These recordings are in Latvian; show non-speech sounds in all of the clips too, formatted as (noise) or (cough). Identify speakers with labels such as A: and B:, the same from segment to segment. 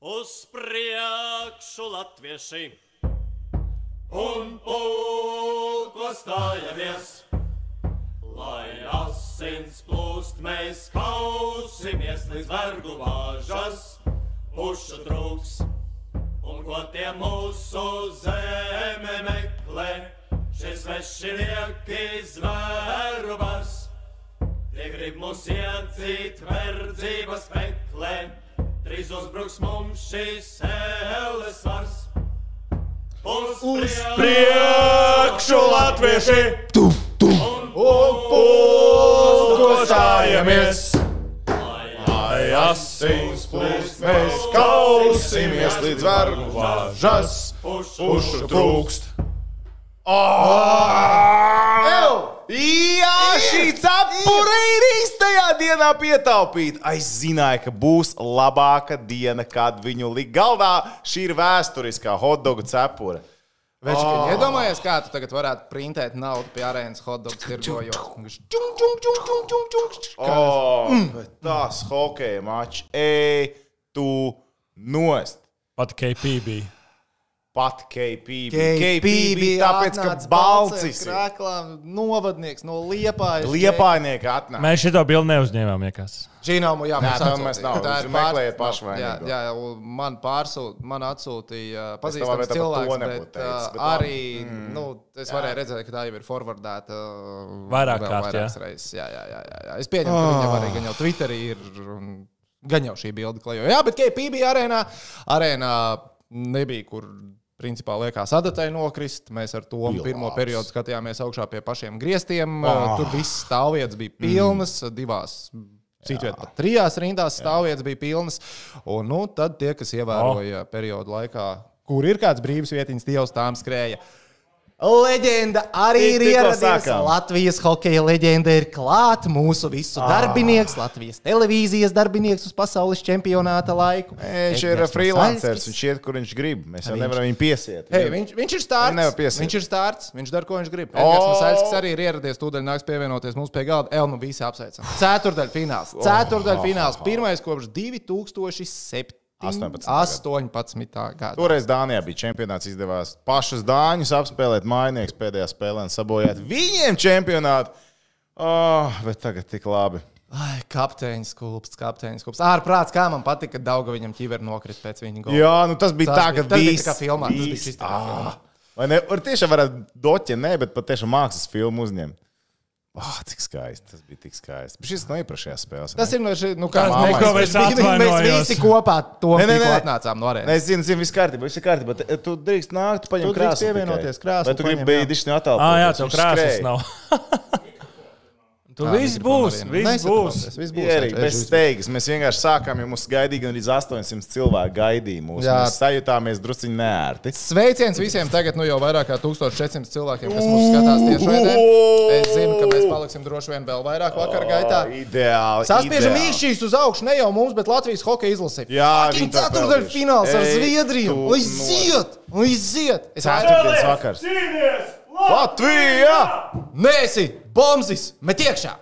A: Uz priekšu latvieši!
B: un pulko stājamies, lai asins plūst, mēs kausimies līdz vergu vāžas, pušu trūks, un ko tie mūsu zeme meklē, šis vešinieki zvērubas, tie grib mūs iedzīt verdzības meklē, drīz uzbruks mums šis ēles vars. Uz
C: Priekšu latvieši! Tu, tu! Un pulko stājamies! Lai asins plūst, mēs kausimies līdz vergu vāžas! Pušu trūkst! Ā!
D: Ah! Jā, šī cepura ir īstajā dienā pietaupīta. Es zināju, ka būs labāka diena, kad viņu likt galdā. Šī ir vēsturiskā hotdogu cepura.
E: Viņš oh. iedomājās, kā tu tagad varētu printēt naudu pie arēnas hotdogs tirgojot.
D: Oh,
E: Mm.
D: bet tās hokeja mačs, ej, tu nost!
F: Pat KP bija.
D: Pat KP.
E: KP bija
D: tāpēc, ka Balcis ir
E: krāklā novadnieks no Liepājas.
D: liepājnieki atnāk.
F: Mēs šito bildi neuzņēmām. Nekas.
E: Žinomu, jā,
D: Nē,
E: mums
D: tam
E: atsūtīja.
D: mēs nav.
E: Tā
D: Jūs
E: ir pār-
D: meklējiet paši
E: Jā,
D: vainīgo.
E: jā, un man pārsūtīja, man atsūtīja uh,
D: tev
E: pazīstams
D: varētu pat
E: cilvēks,
D: to nebūtu
E: bet, uh,
D: teicis, bet Mm.
E: arī, nu, es varēju redzēt, ka tā jau ir forwardēta uh,
F: Vairāk
E: vēl
F: kārt,
E: vairākas
F: jā.
E: reizes. Jā, jā, jā, jā, jā. Es pieņemu, ka viņam arī gan jau Twitterī ir, un gan jau šī bilde klejo. Jā, bet KP bija arēnā, arēnā nebija, kur. Principā liekas, adatai nokrist. Mēs ar to pirmo periodu skatījāmies augšā pie pašiem griestiem. Oh. Tur viss stāvvietas bija pilnas, mm. divās Citviet pat trijās rindās stāvvietas bija pilnas. Un nu, tad tie, kas ievēroja oh. periodu laikā, kur ir kāds brīvs vietiņš, tie jau tām skrēja. Leģenda arī
D: Tik-
E: ir
D: tikko
E: ieradusies.
D: sākām.
E: Latvijas hokeja leģenda ir klāta. Mūsu visu ah. darbinieks, Latvijas televīzijas darbinieks uz pasaules čempionāta laiku.
D: Viņš ir freelanceris. Viņš iet, kur viņš grib. Mēs jau nevaram viņu piesiet.
E: Hei, viņš, viņš ir
D: Nevar
E: stārts.
D: piesiet.
E: Viņš ir stārts. Viņš dara, ko viņš
D: O!
E: grib. Edgars Masaļskis arī ir ieradies. Tūdaļ nāks pievienoties mums pie galda. Elnu visi apsveicam. Ceturdaļfināls. Ceturdaļfināls. Pirmais kopš 2007.
D: 18.
E: 18. gada.
D: Toreiz Dānijā bija čempionāts. Izdevās pašus dāņus apspēlēt. Mājiņš pēdējā spēlē un sabojāt viņiem čempionātu. Oh, bet tagad tik labi.
E: Ai, kapteinis klubs, kapteinis klubs. Ārprāts, kā man patika, ka Dauga viņam ķiver nokrist pēc viņa gola.
D: Jā, nu tas bija
E: Tas
D: tā,
E: bija-
D: ka
E: tas bija
D: bijis-
E: tā kā filmā, tas bija
D: bijis-
E: šis tā kā
D: Ā!
E: filmā.
D: Vai ne? Tur tiešām varētu doķi, nē, bet patiešām mākslas filmu uzņemt. Ah, cik skaisti. Tas bija tik skaisti. Bet šis no iepriekšējās spēles.
E: Tas ir no šī, nu kā
D: Mamma,
E: neko,
F: es
E: mēs, mēs, mēs
F: atvainojos.
E: visi kopā to
D: Nē, nē,
E: tikko
D: nē.
E: atnācām no
D: Nē,
E: arēnas.
D: es zinu, zinu, viss kārtībā, viss kārtībā. Te- Tu drīkst nākt, tu paņem
E: Tu drīkst
D: krāsu.
E: pievienoties krāsu,
D: Bet tu gribi
E: paņem, jā.
D: beidīt no attēlot.
F: Ah, jā, tev krāsas nav. Tur
E: Tā,
F: viss būs.
E: mikrofona arēna.
F: Viss būs.
E: Nesatraucies, viss būs.
D: Ierīgi,
E: Edžers,
D: bez
E: viss būs.
D: steigas. Mēs vienkārši sākām, jo mums gaidīja gandrīz 800 cilvēku. Gaidīja mūs.
E: Jā.
D: Mēs sajūtāmies drusku neērti.
E: Sveiciens visiem tagad, nu jau vairāk kā 1400 cilvēkiem, kas mūsu skatās tieši šodien. Es zinu, ka mēs paliksim droši vien vēl vairāk vakar gaitā.
D: Ā, Ideāli.
E: Saspiežam
D: Oh, ideāli.
E: īšķīs uz augšu ne jau mums, bet Latvijas hokeja izlasē.
D: Jā, viņi tā
E: ceturtdaļa
D: peldējuši.
E: fināls ar
D: Ei,
E: Zviedriju.
D: tu
E: Lai iziet! Lai iziet! Es aizsācu!
D: Ceturtdienas vakars. Latvija!
E: Nēsi! Bombzis! Met iekšā!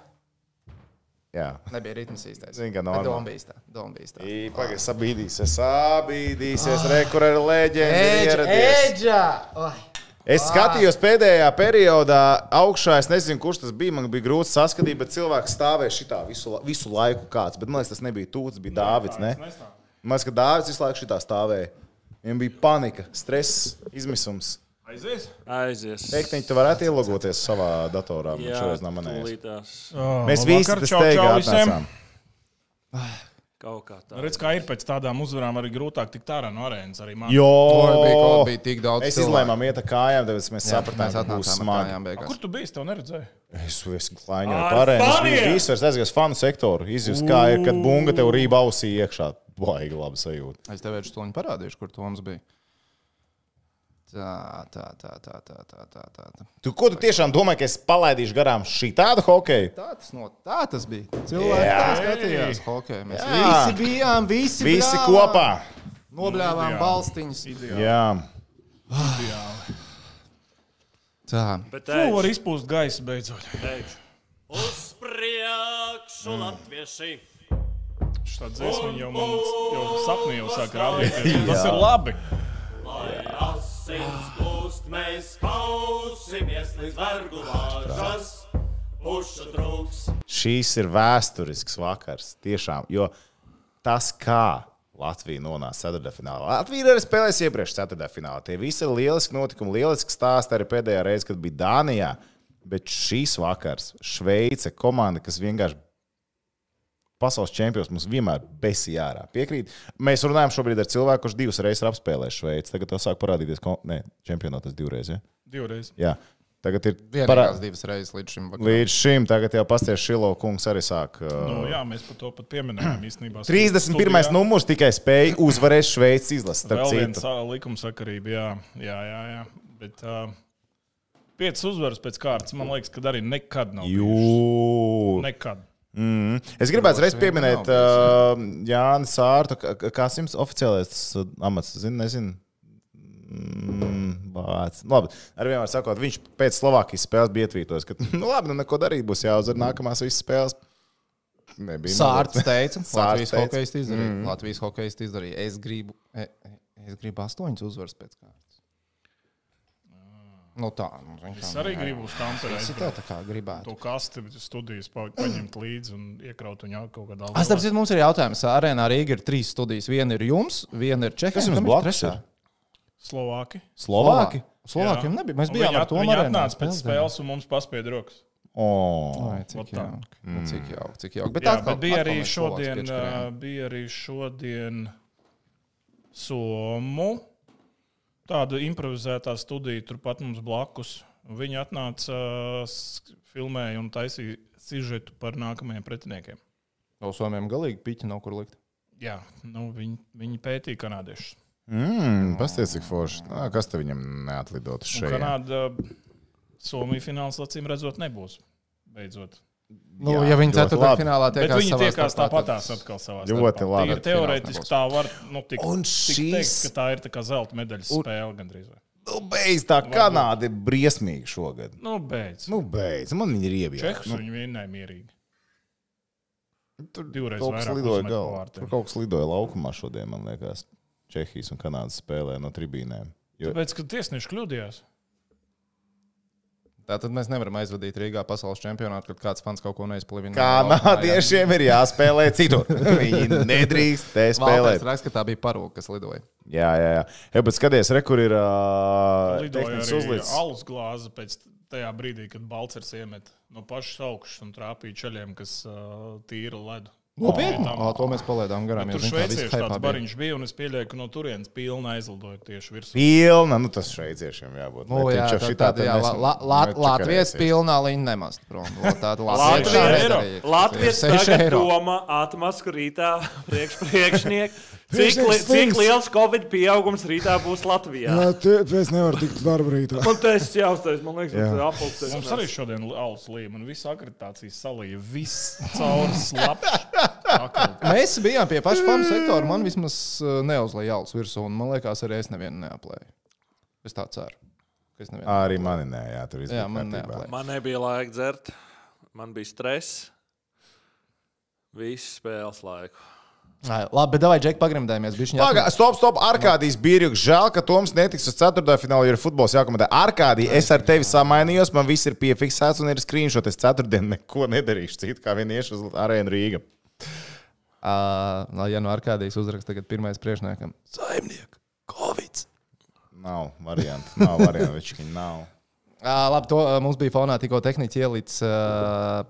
D: Jā.
E: Nebija ritms īstais.
D: Zini, ka
E: Bet
D: normāli.
E: Doma bija īstā. Doma bija īstā.
D: Ī, Pagaid, sabīdīsies, sabīdīsies,
E: Ah.
D: rekur ar leģendu.
E: Edža!
D: ieradies. Oh.
E: Edža! Oi.
D: Es
E: Ah.
D: skatījos pēdējā periodā augšā. Es nezinu, kurš tas bija. Man bija grūti saskatīt, bet cilvēks stāvēja šitā visu, la- visu laiku. Kāds. Bet, man liekas, tas nebija Tūts, bija Dārvids. ne? Man liekas, ka Dārvids visu laiku šitā stāvēja. Viņam bija panika, stress, izmisums.
C: Aizies!
G: Aizies.
D: Pēkšņi tu varētu ielogoties savā datorā. man
G: Jā,
D: Šoreiz nav manējis.
G: tūlītās.
D: Mēs visi
C: Labvakar,
D: tas
C: čau, čau
D: teigām.
C: visiem.
D: atnācām.
G: Kaut kā tā.
C: Redz, kā ir pēc tādām uzvarām arī grūtāk tikt ārā no arēnas. Arī man.
E: Oi, bija
D: Jo!
E: kaut- bija tik daudz
D: Mēs
E: cilvēku.
D: izlēmām iet ar kājām, tāpēc mēs
E: Jā,
D: sapratām,
E: mēs
D: ka būs
E: atnācām ar
D: smagi.
E: kājām beigās.
C: Kur tu biji? Es tev neredzēju.
D: Es esmu klāņā
C: Ar
D: pārējiem. Es
C: faniem!
D: biju visur, es aizgāju uz fanu sektoru. Izjūtu, kā ir, kad bunga tev rība ausī iekšā. Baigi labi sajūta.
E: Es tev jau stūni parādīšu, kur Toms bija. Tā, tā, tā, tā, tā, tā, tā, tā. tā.
D: Tu, ko tu tiešām domā, ka es palaidīšu garām šitādu hokeju?
E: Tā tas, no, tā tas bija. Cilvēki
D: Jā.
E: tā skatījās hokeju. Mēs
D: Jā.
E: jā. visi bijām, visi,
D: Visi
E: brālā.
D: kopā.
E: Nobļāvām balstiņas.
D: Jā.
E: Tā.
G: Bet
C: Tu
G: ej,
C: vari Nu, izpūst gaisu beidzot.
G: ej. Mm.
A: Uz priekšu latvieši!
C: Šitā dziesma jau man jau sapnī jau sāk rādīt. Tas ir labi.
B: Asins plūst, mēs kausimies līdz vergu lāžas. Pušu trūks,
D: Šīs ir vēsturisks vakars. Tiešām, jo tas, kā Latvija nonāca ceturtajā finālā, Latvija ir arī spēlējusi iepriekš ceturtajā finālā. Tie visi ir lieliski notikumi, lieliski stāsti arī pēdējā reize, kad bija Dānijā. Bet šīs vakars, Šveice, komanda, kas vienkārši pasaules čempions mums vienmēr besija ārā. Piekrīt. Mēs runājam šobrīd ar cilvēku, kurš divas reizes ir apspēlējis Šveici. Tagad tas sāk parādīties, ko ne, čempionātā tas divreiz. Ja?
C: Divreiz.
D: Jā, tagad ir parā-
E: Vienīgās divas reizes līdz šim vakaram.
D: Līdz šim tagad jau pasties Šilo kungs arī sāk.
C: Nu,
D: Uh,
C: jā, mēs par to pat pieminējām īstenībā.
D: 31.
C: Studijā.
D: numurs tikai spēja uzvarēt Šveices izlases. Starp
C: Vēl viena
D: citu,
C: sa- likumsakarība, jā, jā, jā. jā. Bet uh, piecas uzvaras pēc kārtas, man liekas, ka arī nekad nav. bijušas.
D: Jū.
C: Nekad.
D: Mm. Es gribētu reiz
E: vien
D: pieminēt uh,
E: nav
D: Jānis Sārtu. K- k- Kāds jums oficiālais uh, amats? Zinu, nezinu. Mm, vārds. Nu, Labi, ar vienmēr sakot, viņš pēc Slovākijas spēles bija ietvītojis, ka, (laughs) nu, labi, nu, neko darīt būs jāuzvar nākamās visas spēles. Nebija
E: Sārts
D: noticis.
E: teica,
D: Sārds
E: Latvijas
D: teica.
E: hokeja izdarīja. Mm. Latvijas hokeja izdarīja. Es gribu, e- e- es gribu astoņas uzvaras pēc kārtas.
D: Ah.
E: Nu tā, nu, zini
C: Es
E: kā,
C: arī
E: jā, jā.
C: gribu uz tām
E: Es
C: pērēt.
E: tā, tā kā gribētu.
C: To kasti studijas pa- paņemt līdzi un iekraut viņu ar kaut kādā
E: Astapēc mums ir jautājums. Arēnā Rīga ir trīs studijas. Viena ir jums, viena ir Čehijas.
D: Kas jums blakus? ir?
C: Slovāki.
D: Slovāki?
E: Slovākiem
C: Jā.
E: nebija. Mēs
C: Un
E: bijām
C: viņi
E: ar to
C: Viņi atnāca pēc spēles un mums paspied rokas.
D: Oh.
E: Ai, cik
C: Vat tā.
E: jauki. Nu, Cik jauki, cik jauki. Bet,
C: Jā,
E: atkal-
C: bet bija
E: atkal
C: arī
E: mēs Slovākus
C: šodien,
E: piečkarējām.
C: ā, bija arī šodien Somu. Tāda improvizētā studija turpat mums blakus. Viņi atnāca, s- filmēja un taisīja sižetu par nākamajiem pretiniekiem.
E: No Somijiem galīgi piķi nav kur likt.
C: Jā, nu, viņi, viņi pētīja kanādiešus.
D: Mmm, pasties, cik forši. Nā, kas te viņam neatlidot
C: Un
D: šeit?
C: Kanāda, Somija fināls acīm redzot, nebūs. Beidzot.
E: Nu,
D: Jā,
E: jā, ja viņi
D: ļoti
E: ceturtajā
D: labi.
E: finālā
C: Bet
E: tiekās
C: viņi
E: savā
C: tiekās
E: starpā,
C: tāpatās
E: tad-
C: atkal savā
D: Ļoti
C: starpā.
D: labi.
C: Tīri Teorētiski
E: Fināls nebūs.
C: tā var nu, tikt.
D: Un
C: Tik teikt,
D: šīs,
C: ka tā ir tā kā zelta medaļas spēle gandrīz. vai?
D: nu, beidz, tā Kanāda ir briesmīga šogad.
C: Nu, beidz.
D: Nu, beidz, man viņa ir
C: Čehus
D: iebijusi.
C: nu, viņi vienai mierīgi.
D: tur
C: divreiz
D: kaut kas
C: vairāk
D: lidoja
C: uzmet pa
D: galā.
C: vārtiem.
D: Tur kaut kas lidoja laukumā šodien, man liekas, Čehijas un Kanādas spēlē no tribīnēm. Jo,
C: Tāpēc, ka tiesneši kļūdījās.
E: Tātad mēs nevaram aizvadīt Rīgā pasaules čempionātu, kad kāds fans kaut ko neizplivina.
D: Kanādiešiem ir jāspēlē
C: (laughs)
D: citur. Viņi nedrīkst te
E: Spēlēt.
D: spēlēt.
E: Raksta, ka tā bija parūka, kas lidoja.
D: Jā, jā, jā. Jā, bet skaties, re, kur ir uh,
C: Lidoja
D: tehnisks
C: arī
D: uzlīts.
C: alus glāze pēc tajā brīdī, kad Balcers iemet no pašas augšas un trāpīja ceļiem, kas uh, tīra ledu.
E: Nopietni. Oh, to mēs palaidām garām.
C: Tur
E: jo, zini, kā viss
C: šveicieši tāds
E: hypā bija.
C: bariņš bija, un es pieļauju, ka no turienes pilna aizlidoja tieši virsū.
D: Pilna, nu tas šveiciešiem jābūt.
E: Nu, jā, tā, tā, tā, jā, la, la, la, Latvijas pilnā līnija nemaz. prom. Lo- tāda Latvijas
G: Latvija-
E: arī
C: eiro.
E: darīja.
G: Latvijas
E: Seši
G: tagad
E: eiro.
G: domā atmasku rītā (laughs) priekš priekšnieku. Cik,
H: Priekšnieks
G: li cik
H: slims.
G: liels Covid pieaugums rītā būs Latvijā?
H: Jā, tāpēc nevar tikt uz darbu rītā.
G: Man tas ir jāuztais, man liekas, tas ir
C: Mums
G: apelsīns.
C: arī šodien bija alus līnija, un viss akreditācijas salīja. Viss caur
E: (laughs)
C: slapju.
E: Mēs bijām pie paša fanu sektora. Man vismaz uh, neuzlēja jālus virsū, un man liekas, arī es nevienu neaplēju. Es tā ceru. ka Es nevienu.
D: Arī mani nē, jā, tur viss
E: Jā,
D: bija
E: man
D: kārtībā.
E: neaplēja.
G: Man nebija laika dzert, man bija stress. Visu spēles laiku.
E: Ai, Labi, bet davai, Džek, pagrimdējamies. bišķiņ
D: Pagā, stop, stop, Arkādijas Bīrjuks. Žēl, ka Toms netiks uz 4. finālu, jo ir futbols jākomentē. Arkādija, es ar tevi samainījos, man viss ir piefiksēts un ir skrīnšot. Es 4. dienu neko nedarīšu citu, kā vien iešu uz arēnu Rīgā.
E: Ā, lai ja no Arkādijas uzraksta tagad pirmais priekšniekam. Saimnieks, Covid.
D: Nav variantu, nav variantu, večkiņi, nav.
E: Labi, to ā, mums bija fonā tikko tehnici ielicis ā,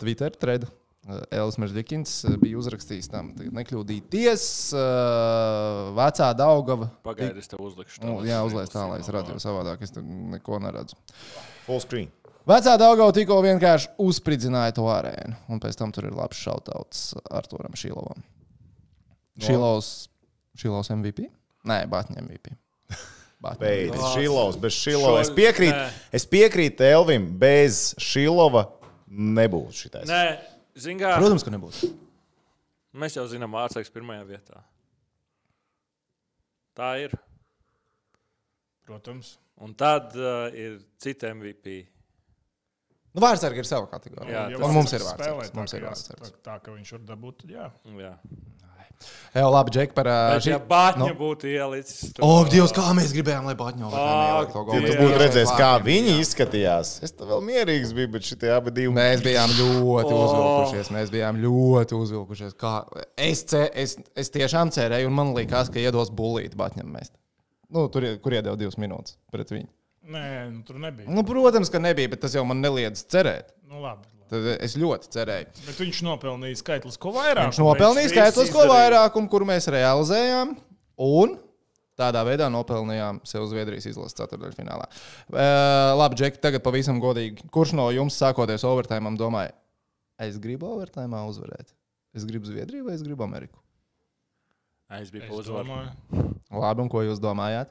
E: Twitter thread. Ā, Elis Meržģikins ā, bija uzrakstījis tam, tagad nekļūdīties. ā, Vecā Daugava.
G: Pagaidiet, es tev uzlikšu.
E: Nu,
G: tālāk.
E: jā, uzliek tā, lai es redzētu savādāk. Es tur neko neredzu.
D: Full screen.
E: Vecā Daugava tikko vienkārši uzspridzināja to arēnu. Un pēc tam tur ir labs šautauts Arturam Šīlovam. Šīlovs Šīlovs MVP? Nē, Batņa
D: (laughs)
E: MVP. Batņa
D: Beidz,
E: MVP.
D: šilovs, bez šilova. Es
G: Šo-
D: piekrītu,
G: nē.
D: es piekrītu Elvim, bez šilova nebūtu šitais.
G: Nē, zināmā mērā
E: Protams, ka nebūs.
G: mēs jau zinām, Vācijā pirmajā vietā. Tā ir.
C: Protams.
G: Un tad uh, ir citi MVP.
E: Nu, Vārsargi ir sava
F: Jā,
E: kategorija. Jā,
F: tas
E: un mums
C: tas
E: ir
C: spēlē
E: vārds.
C: tā,
E: Mums
C: ka
E: ir
C: jā-
E: vārds.
C: tā- Tā, ka viņš var dabūt, tad jā.
F: Jā.
E: Jā, labi, Džek, par ā,
G: Bet,
E: šī-
G: ja Bāķņa
E: Nu.
G: būtu ielicis. to-
E: O, Dievs, kā mēs gribējām, lai Bāķņo
G: Ak,
D: Ja
G: Jā.
D: tu būtu redzējis, kā viņi izskatījās, es tam vēl mierīgs biju, bet šitie abi divi.
E: Mēs bijām ļoti
G: O.
E: uzvilkušies. Mēs bijām ļoti uzvilkušies. Kā- Es, ce, es, es tiešām cerēju, un man liekas, ka iedos bulīti Batņam mest. Nu, tur, ie- kur iedod divas minūtes pret viņu.
C: Nē, nu, tur nebija.
E: Nu, protams, ka nebija, bet tas jau man neliedz cerēt.
C: Nu, labi, labi.
E: Tad es ļoti cerēju.
C: Bet viņš nopelnīja skaitlisko vairāk.
E: Viņš nopelnīja
G: viss
E: skaitlisko
G: izdarīja.
E: vairākumu, kuru mēs realizējām, un tādā veidā nopelnījām sev Zviedrijas izlases ceturdaļfinālā. Uh, labi, Džek, tagad pavisam godīgi. Kurš no jums sākoties overtime domāja, es gribu overtime uzvarēt? Es gribu Zviedriju vai es gribu Ameriku?
F: Es biju
C: Es domāju,
E: Labi, un ko jūs domājāt?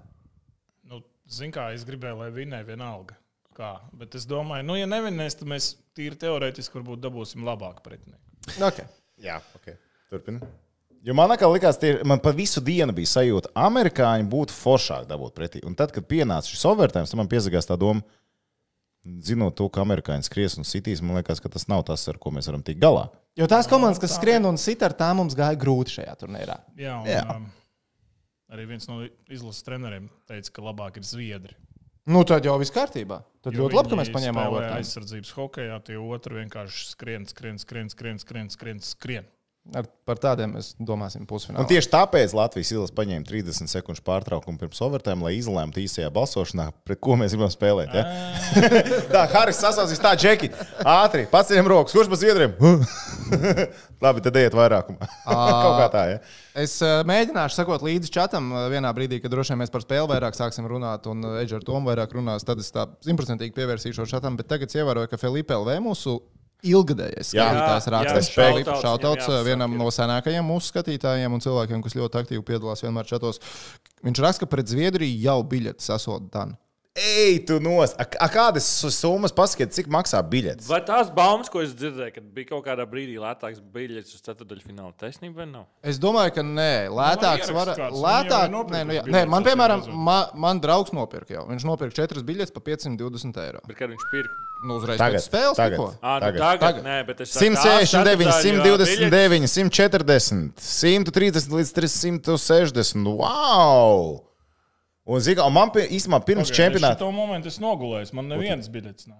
C: nu, zin kā, es gribēju, lai vinēja vienalga. Kā. Bet es domāju, nu, ja nevinēs, tad mēs tīri teorētiski varbūt dabūsim labāku pretinieku.
E: Okay.
D: Jā, ok. Turpini. Jo man kā likās, tie, man pa visu dienu bija sajūta, ka amerikāņi būtu foršāk dabūt pretī. Un tad, kad pienāca šis overtime, tad man piesakās tā doma, zinot to, ka amerikāņi skries un sitīs, man liekas, ka tas nav tas, ar ko mēs varam tikt galā.
E: Jo tās komandas, kas skrien un sit ar tām, mums gāja grūti šajā turnīrā.
C: Jā, un,
D: Jā.
C: jā. Um, arī viens no izlases treneriem teica, ka labāk ir zviedri.
E: Nu, tad jau viss kārtībā. Tad
C: Jo
E: ļoti labi, ka mēs
C: viņi
E: paņēmām
C: spēlē
E: overtime.
C: aizsardzības hokeju, tie otru vienkārši skrien, skrien, skrien, skrien, skrien, skrien. skrien.
E: Ar, par tādiem mēs domāsim pusfinālā.
D: Un tieši tāpēc Latvijas ielas paņēma 30 sekundžu pārtraukumu pirms overtime, lai izlēmtu īsajā balsošanā, pret ko mēs gribam spēlēt. Ja? (laughs) tā, Haris sasaucīs, tā, Džeki, ātri, paceļam rokas, kurš pa zviedriem? (laughs) Labi, tad ejiet vairākumā. (laughs) Kaut kā tā, ja?
E: Es ā, mēģināšu sekot līdzi čatam ā, vienā brīdī, kad droši vien mēs par spēli vairāk sāksim runāt, un ā, Edžers ar Tomu vairāk runās. Tad es tā simtprocentīgi pievērsīšos čatam, bet tagad es ievēroju, ka Filipa LV mūsu ilgadējais
D: Jā.
E: skatītājs
G: Jā,
E: raksta
G: jā,
E: šādu
G: shoutouts
E: šautauts eh,
G: viņam jāapsaka,
E: vienam
G: jā.
E: no senākajiem mūsu skatītājiem un cilvēkiem, kas ļoti aktīvi piedalās vienmēr čatos. Viņš raksta, ka pret Zviedriju jau biļeti sasod dan.
D: Ej, tu nos! A, a kādas su- summas paskatās, cik maksā biļets?
G: Vai tās baumas, ko es dzirdēju, kad bija kaut kādā brīdī lētāks biļets uz ceturdaļu finālu, taisnība vai nav?
E: Es domāju, ka nē, lētāks
C: Nu, ieraksts
E: var
C: kāds,
E: būt.
C: nu,
E: Lētāk,
C: jau ir
E: nē, nu, jā.
C: nopirkuši
E: nē, man,
C: biļetes,
E: piemēram,
C: atcīm
E: ma, man draugs nopirka jau. Viņš nopirka četras biļetes par 520 eiro.
G: Bet kad viņš pirka?
E: Nu, uzreiz
D: Tagad,
E: pēc spēles
D: tagad.
E: tikko.
G: Ā, nu
D: Tagad,
G: tagad,
E: tagad.
G: tagad. Nē, bet es saku, tā
D: 169,
G: ceturtdaļu, jā, biļetes-
D: 129, 140, 130 līdz 360. Wow! Un, zini, kā, un man pie- īstenībā pirms okay, čempionāta
C: To momentu es nogulēju, man nevienas biļetes nav.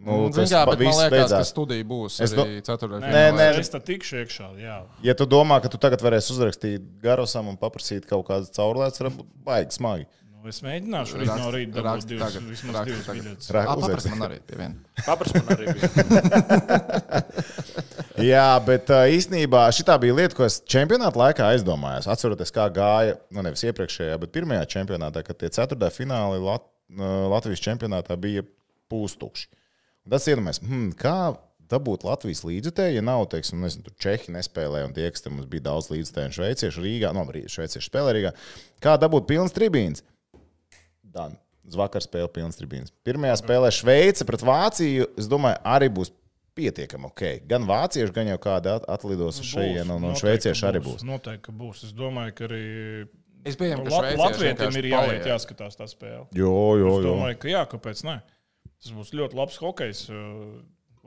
D: Nu,
E: Nu,
D: tas
E: jā, bet man
D: viss
E: liekas, beidzās. ka
D: beidzās.
E: studija būs
D: Es
E: es
D: do-
E: arī ceturtajā
D: Nē, nē.
C: Es tā tikšu iekšā, jā.
D: Ja tu domā, ka tu tagad varēsi uzrakstīt garosam un paprasīt kaut kādas caurlaides, tad baigi smagi.
C: Nu, es mēģināšu arī no
E: Raksti-
C: rīta dabūt
E: raksti
C: divas,
E: tagad,
C: vismaz
E: raksti
C: divas
E: tagad.
C: biļetes.
D: Tra-
E: Apraksta
D: uzrakstīt.
E: man arī pie viena.
G: Paprast man arī bija.
D: (laughs) Jā, bet ā, īstenībā šī bija lieta, ko es čempionāta laikā aizdomājos. Atceroties, kā gāja, nu nevis iepriekšējā, bet pirmajā čempionātā, kad tie ceturtajā fināli Lat ā, Latvijas čempionātā bija pūstukši. Un Tas iedomājas, hmm, kā dabūt Latvijas līdzekļu, ja nav, teiksim, nezinu, tur Čehi nespēlē, un tie, kas te mums bija daudz līdzekļu, un šveicieši Rīgā, no arī šveicieši spēlē Rīgā, kā dabūt pilnas tribīnas. Dan. Zvakar spēle pilnas tribīnas. Pirmajā spēlē Šveice pret Vāciju. Es domāju, arī būs pietiekami ok. Gan vācieši, gan jau kāda at- atlidos uz šejienes, un, un
C: noteikti
D: šveicieši arī būs.
C: Noteikti ka būs. Es domāju, ka arī
E: (laughs) Es pieņemu, ka
C: Lat-
E: šveicieši
C: Latvijiem
E: vienkārši
C: ir jāiet,
E: paliek.
C: jāskatās tā spēle.
D: Jo, jo, jo.
C: Es domāju, ka jā, kāpēc ne? Tas būs ļoti labs hokejs.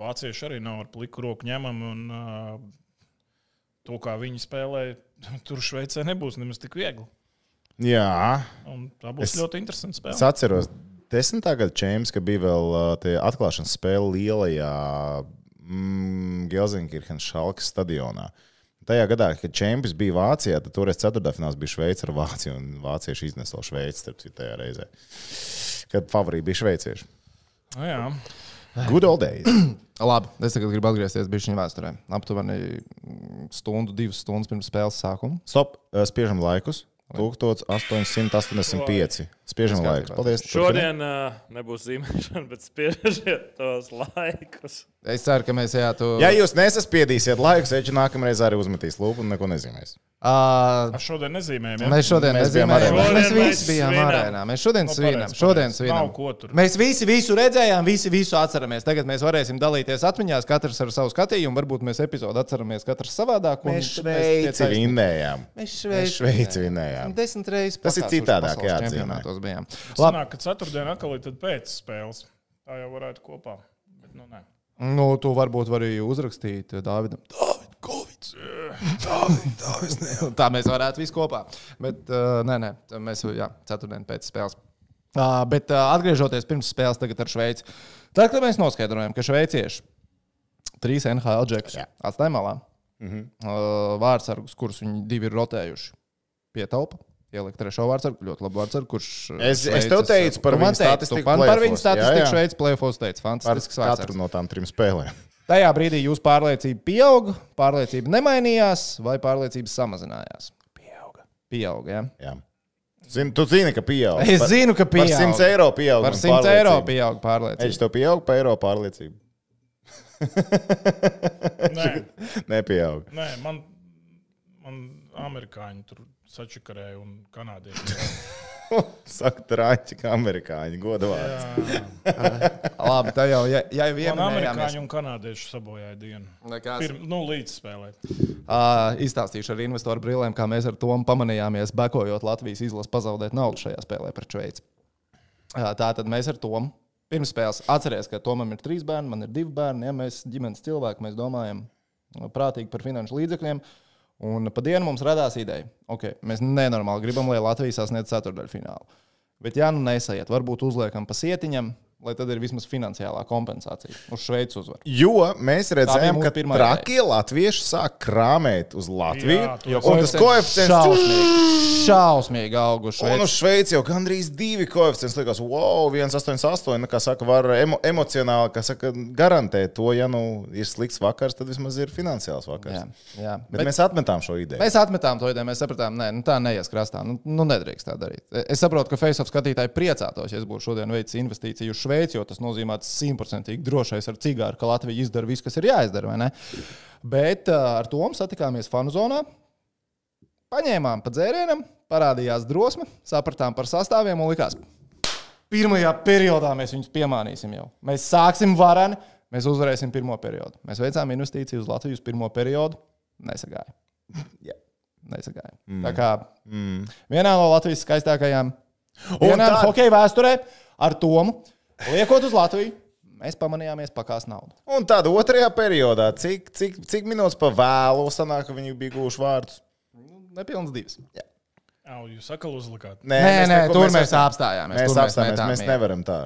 C: Vācieši arī nav ar pliku roku ņemami. Un, ā, to, kā viņi spēlē, (laughs) tur Šveicē nebūs nemaz tik viegli.
D: Jā,
C: Un tā būs
D: Es-
C: es... ļoti interesanta
D: es
C: spēle.
D: atceros, desmitā gada čempions, ka bija vēl uh, tie atklāšanas spēle lielajā mm, Gelsenkirchenas šalkas stadionā. Tajā gadā, kad čempions bija Vācijā, tad toreiz ceturtdaļfinālā bija Šveice ar Vāciju, un vācieši iznesa vēl Šveici, starp citu, tajā reizē, kad favorīti bija šveicieši.
C: Nu, jā,
D: Good old days! (clears throat)
E: Labi, es tagad gribu atgriezties pie viņa vēsturē. Aptuveni mm, stundu, divas stundas pirms spēles sākuma.
D: Stop, eh, spiežam laikus. 1885. Spiežam
E: Skatībā.
D: laikus. Paldies.
G: Šodien uh, nebūs zīmēšana, bet spiežiet tos laikus.
E: Es ceru, ka mēs jā, tu.
D: Ja jūs nesaspiedīsiet laikus, Eģi nākamreiz arī uzmetīs lūpu un neko nezīmēs.
E: Ā,
C: Ar šodien nezīmējam.
E: Mēs šodien
D: Mēs bijām
E: nezinājām,
D: arēnā.
E: mēs
G: Šodien
E: visi
G: mēs
E: bijām
G: svinam.
E: arēnā. Mēs šodien
C: No,
E: svinam,
C: Nu, pareizi,
E: šodien
C: pareizi.
E: svinam.
C: Nav ko tur.
E: Mēs visi visu redzējām, visi visu atceramies. Tagad mēs varēsim dalīties atmiņās, katrs ar savu skatījumu. Varbūt mēs epizodu atceramies katrs savādāk. un
D: Mēs
E: tad pie
D: Šveici
E: taisnām.
D: vinnējām.
E: Mēs
D: Mēs
E: Šveici
D: Šveici
E: vinējām.
D: vinnējām.
E: Desmit reizes
D: Tas ir
E: pakāsuši
D: citādāk
E: pasaules
D: jāatzīmē.
E: čempionātos bijām.
C: Sanāk, ka ceturtdien atkal ir tad pēc spēles. Tā jau varētu kopā. Bet bet nu,
E: (laughs)
C: nē.
E: Nu, tu varbūt vari uzrakstīt eh, Dāvidam. Dāvid, Kovics! Dāvid, Dāvid, ne. (laughs) Tā mēs varētu visi kopā. Bet, uh, nē, nē, tā mēs jā, ceturtdien pēc spēles. Uh, bet uh, atgriežoties pirms spēles tagad ar Šveici, tad, kad mēs noskaidrojam, ka šveicieši trīs NHL džekus atstāja malā,
D: Mhm.
E: mm -hmm. vārdsargus, kurus viņi divi ir rotējuši, pietaupa. Ielikt trešo vārdsargu, ļoti labu vārdsargu, kurš. uh,
D: Es- es tev
E: Šveices-
D: teicu par
E: Tu man
D: viņu
E: teici, tu
D: statistiku
E: Man par viņu
D: play-offos, jā, jā.
E: statistiku Šveices plēfos teica,
D: Par
E: fantastisks vārds.
D: katru no tām trim spēlēm.
E: Tajā brīdī jūsu pārliecība pieauga, pārliecība nemainījās, vai pārliecība samazinājās? Pieauga. Pieauga, jā.
D: Jā. Zini, tu zini, ka pieaug.
E: Es
D: Par-
E: zinu, ka
D: Par
E: pieauga.
D: 100 eiro pieaug.
E: Par 100 eiro pieauga
D: Eģis,
E: pārliecība.
D: tev pieaug par eiro pārliecību.
C: Nē.
D: Nepieaug. (laughs)
C: Nē, man, man amerikāņi tur sačakarēja un kanādieši.
D: Saka, trāķi, kā amerikāņi, godavārds.
E: Labi, tā jau, ja, ja jau
C: Man
E: vienmēr
C: amerikāņi un kanādieši sabojāja dienu.
E: ir.
C: Pirms, nu, līdz spēlē.
E: Uh, izstāstīšu ar investoru brīvēm, kā mēs ar to pamanījāmies, bekojot Latvijas izlases pazaudēt naudu šajā spēlē pret Šveici. Uh, tā tad mēs ar to pirms spēles atcerēsimies, ka Tomam ir trīs bērni, man ir divi bērni. Ja mēs esam ģimenes cilvēki, mēs domājam uh, prātīgi par finanšu līdzekļiem. Un pa dienu mums radās ideja, ka okay, mēs nenormāli gribam, lai Latvija sasniedz ceturdaļfinālu. Bet, ja nu nesaiet, varbūt uzliekam pa sietiņam, lai tad ir vismaz finansiālā kompensācija uz Šveices uzvaru.
D: Jo mēs redzējām,
E: mūsu
D: ka
E: pirmā
D: trakie latvieši sāk krāmēt uz Latviju.
C: Jā, to
D: Jā, un tas koeficients.
E: šausmīgi, šausmīgi auguši.
D: Un nu, uz Šveici jau gandrīz divi koeficienti. Likās, wow, 1,88. nu, Kā saka, var emo emocionāli kā saka, garantēt to, ja nu ir slikts vakars, tad vismaz ir finansiāls vakars.
E: Jā,
D: Bet,
E: jā.
D: Bet mēs atmetām šo ideju.
E: Mēs atmetām to ideju, mēs sapratām, nē, nu tā neies krastā. Nu, nu nedrīkst tā darīt. Es saprotu, ka Facebook skatītāji priecātos, ja es būtu šodien veicis investīciju uz Šveici, jo tas nozīmē simtprocentīgi drošais ar cigāru, ka Latvija izdara visu, kas ir jāizdara. vai ne? Bet ā, ar to mums satikāmies fanu zonā, paņēmām pa dzērienam, parādījās drosme, sapratām par sastāviem un likās, pirmajā periodā mēs viņus piemānīsim jau. Mēs sāksim varani, mēs uzvarēsim pirmo periodu. Mēs veicām investīciju uz Latvijas pirmo periodu, (laughs) nesagāja. Nesagāja. Mm. Tā kā mm. vienā no Latvijas skaistākajām vienā
D: tad-
E: no hokeja vēsturē ar Tomu liekot uz Latviju, mēs pamanījāmies pakās naudu.
D: Un tad otrajā periodā, cik, cik, cik minūtes pa vēlu sanāk, ka viņi bija guvuši vārdus?
E: Nepilns divas.
C: Au, jūs sakal uzlikāt.
E: Nē, nē,
D: mēs
E: nē
D: neko-
E: tur mēs, mēs
D: mēs,
E: apstājāmies.
D: mēs
E: tur
D: apstāmies.
E: metām
D: Mēs
E: mieru.
D: nevaram tā.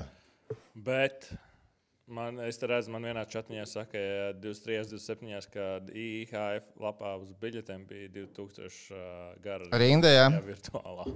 G: Bet man, es te redzu, man vienā čatnijā saka, ja 23, 27, kad IHF lapā uz biļetēm bija 2000 uh, gara
E: Rinda, jā.
G: Jā, virtuālā.